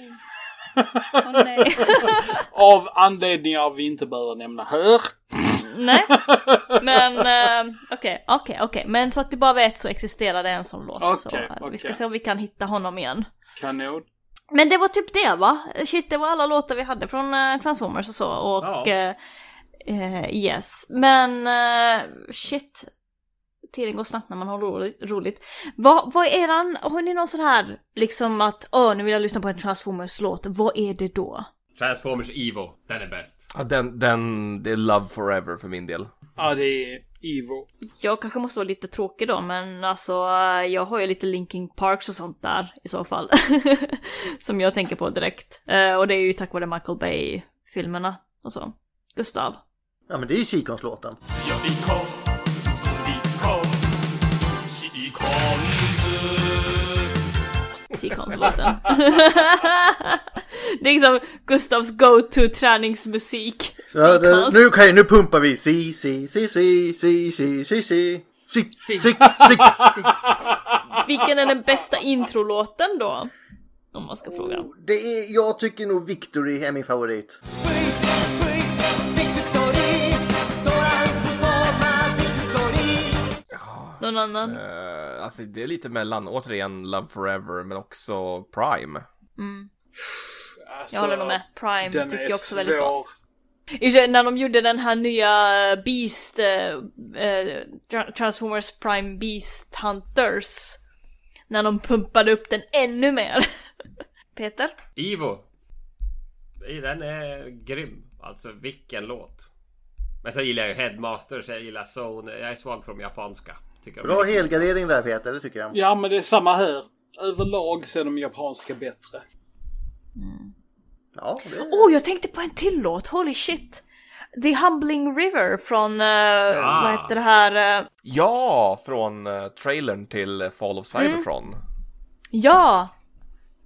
S1: Åh nej.
S6: Av anledningar vi inte behöver nämna här.
S1: nej. Men eh, okej, okej, okej. Men så att du bara vet så existerar det en sån låt. så,
S6: Okej,
S1: eh, Vi
S6: okej.
S1: ska se om vi kan hitta honom igen.
S6: Kanon.
S1: Men det var typ det va? Shit, det var alla låtar vi hade från eh, Transformers och så. Och
S6: Ja.
S1: eh, eh, yes. Men eh, shit. Tiden går snabbt när man har roligt. roligt. Vad, vad är eran, har ni någon sån här liksom att åh nu vill jag lyssna på en Transformers-låt, vad är det då?
S10: Transformers Evo, den är bäst.
S4: Ja, den, den, det är Love Forever för min del.
S6: Ja, det är Ivo.
S1: Jag kanske måste vara lite tråkig då men alltså eh, jag har ju lite Linkin Parks och sånt där i så fall. Som jag tänker på direkt. Eh, och det är ju tack vare Michael Bay-filmerna och så. Gustav.
S3: Ja, men det är ju Kikonslåten.
S11: Ja, vi kom, vi kom, Sikonlöv.
S1: Sikonslåten. det är liksom Gustavs go-to träningsmusik.
S3: Så, det, nu, okay, nu pumpar vi. Si, si, si, si, si, si, si, si. Si, si, si, si.
S1: Vilken är den bästa introlåten då? Om man ska fråga.
S3: Det är, jag tycker nog Victory är min favorit.
S1: Någon annan?
S4: Eh, alltså det är lite mellan, återigen Love Forever men också Prime.
S1: Mm.
S6: Alltså,
S1: Jag håller nog med. Prime
S6: den
S1: tycker
S6: är
S1: jag också väldigt bra.
S6: svår.
S1: I och för sig, När de gjorde den här nya Beast, eh, eh, Tra- Transformers Prime Beast Hunters. När de pumpade upp den ännu mer. Peter?
S10: Evo. Den är grym. Alltså vilken låt. Men sen gillar jag ju Headmasters, jag gillar Zone, jag är svag för de japanska. Tycker de är
S3: Bra
S10: riktigt-
S3: helgardering där Peter, det tycker jag.
S6: Ja, men det är samma här. Överlag så är de japanska bättre.
S3: Ja,
S1: Åh, oh, jag tänkte på en till låt, holy shit! The Humbling River från, eh,
S4: Ah.
S1: vad heter det här? eh,
S4: Ja, från eh, trailern till eh, Fall of Cybertron.
S1: ja!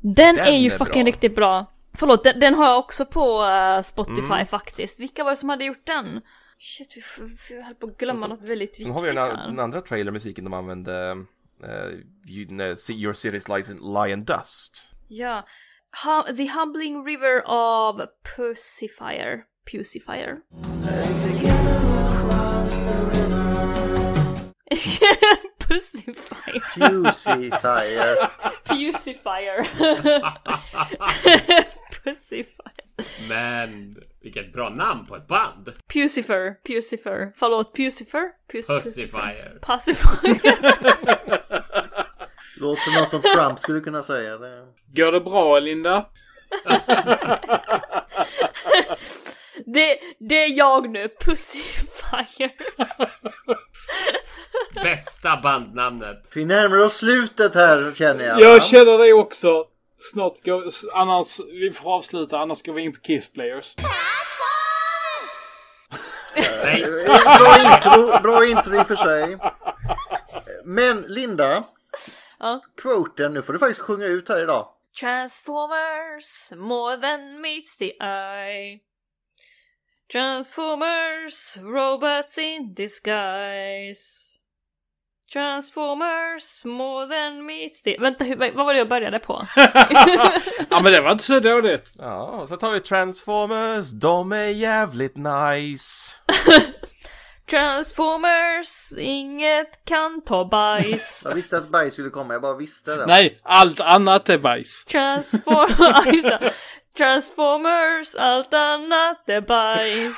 S1: Den,
S4: Den
S1: är ju
S4: är
S1: fucking
S4: bra.
S1: riktigt bra. Förlåt, den, den har jag också på eh, Spotify
S4: Mm.
S1: faktiskt. Vilka var det som hade gjort den? Shit, vi, f- vi höll på att glömma något väldigt viktigt
S4: Sen har vi den,
S1: här.
S4: a- den andra trailermusiken de använde. eh, you, nej, See Your City's Lies in Lion Dust.
S1: Ja. Hum- the Humbling River av Pussifier. Pussifier. Pussifier.
S3: Pussifier.
S1: Pussifier. Pussifier.
S10: Men vilket bra namn på ett band!
S1: Pussifer. Pussifer. Förlåt, Pussifer? Pus-
S10: Pussifier.
S1: Pussifier.
S3: Låter som något som Trump skulle kunna säga. Det.
S6: Går det bra, Linda?
S1: det, det är jag nu. Pussifier.
S10: Bästa bandnamnet!
S3: Vi närmar oss slutet här känner jag.
S6: Jag känner det också. Snart går... Annars... Vi får avsluta, annars går vi in på Kiss Players.
S10: Nej.
S3: Bra intro, bra intro i och för sig. Men Linda,
S1: Ja.
S3: quoten, nu får du faktiskt sjunga ut här idag.
S1: Transformers, more than meets the eye. Transformers, robots in disguise. Transformers, more than meets the... Vänta, hur, vad var det jag började på?
S6: Ja, men det var inte så dåligt.
S4: Ja, och så tar vi Transformers. De är jävligt nice.
S1: Transformers, inget kan ta bajs.
S3: Jag visste att bajs skulle komma, jag bara visste det.
S6: Nej, allt annat är bajs.
S1: Transformers, Transformers, allt annat är bajs.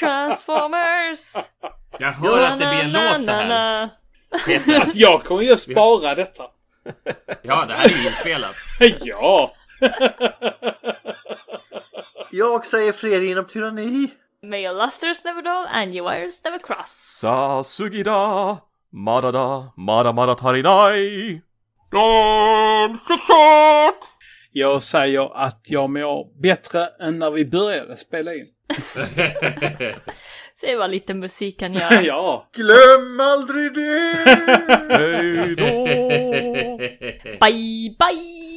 S1: Transformers.
S10: Jag hör att det blir en låt det här.
S1: Na-na-na-na.
S10: Peter.
S6: Alltså, jag kommer ju att spara detta.
S10: Ja, det här är ju inspelat.
S6: Ja!
S3: Jag säger fred inom tyranni.
S1: May your lusters never dull and your wires never cross.
S4: Sasugida, Marada, Mara Mara Tarinai. Dan Success!
S6: Jag säger att jag mår bättre än när vi började spela in.
S1: Se vad lite musik kan göra.
S6: ja.
S3: Glöm aldrig det!
S4: Hej då!
S1: Bye, bye!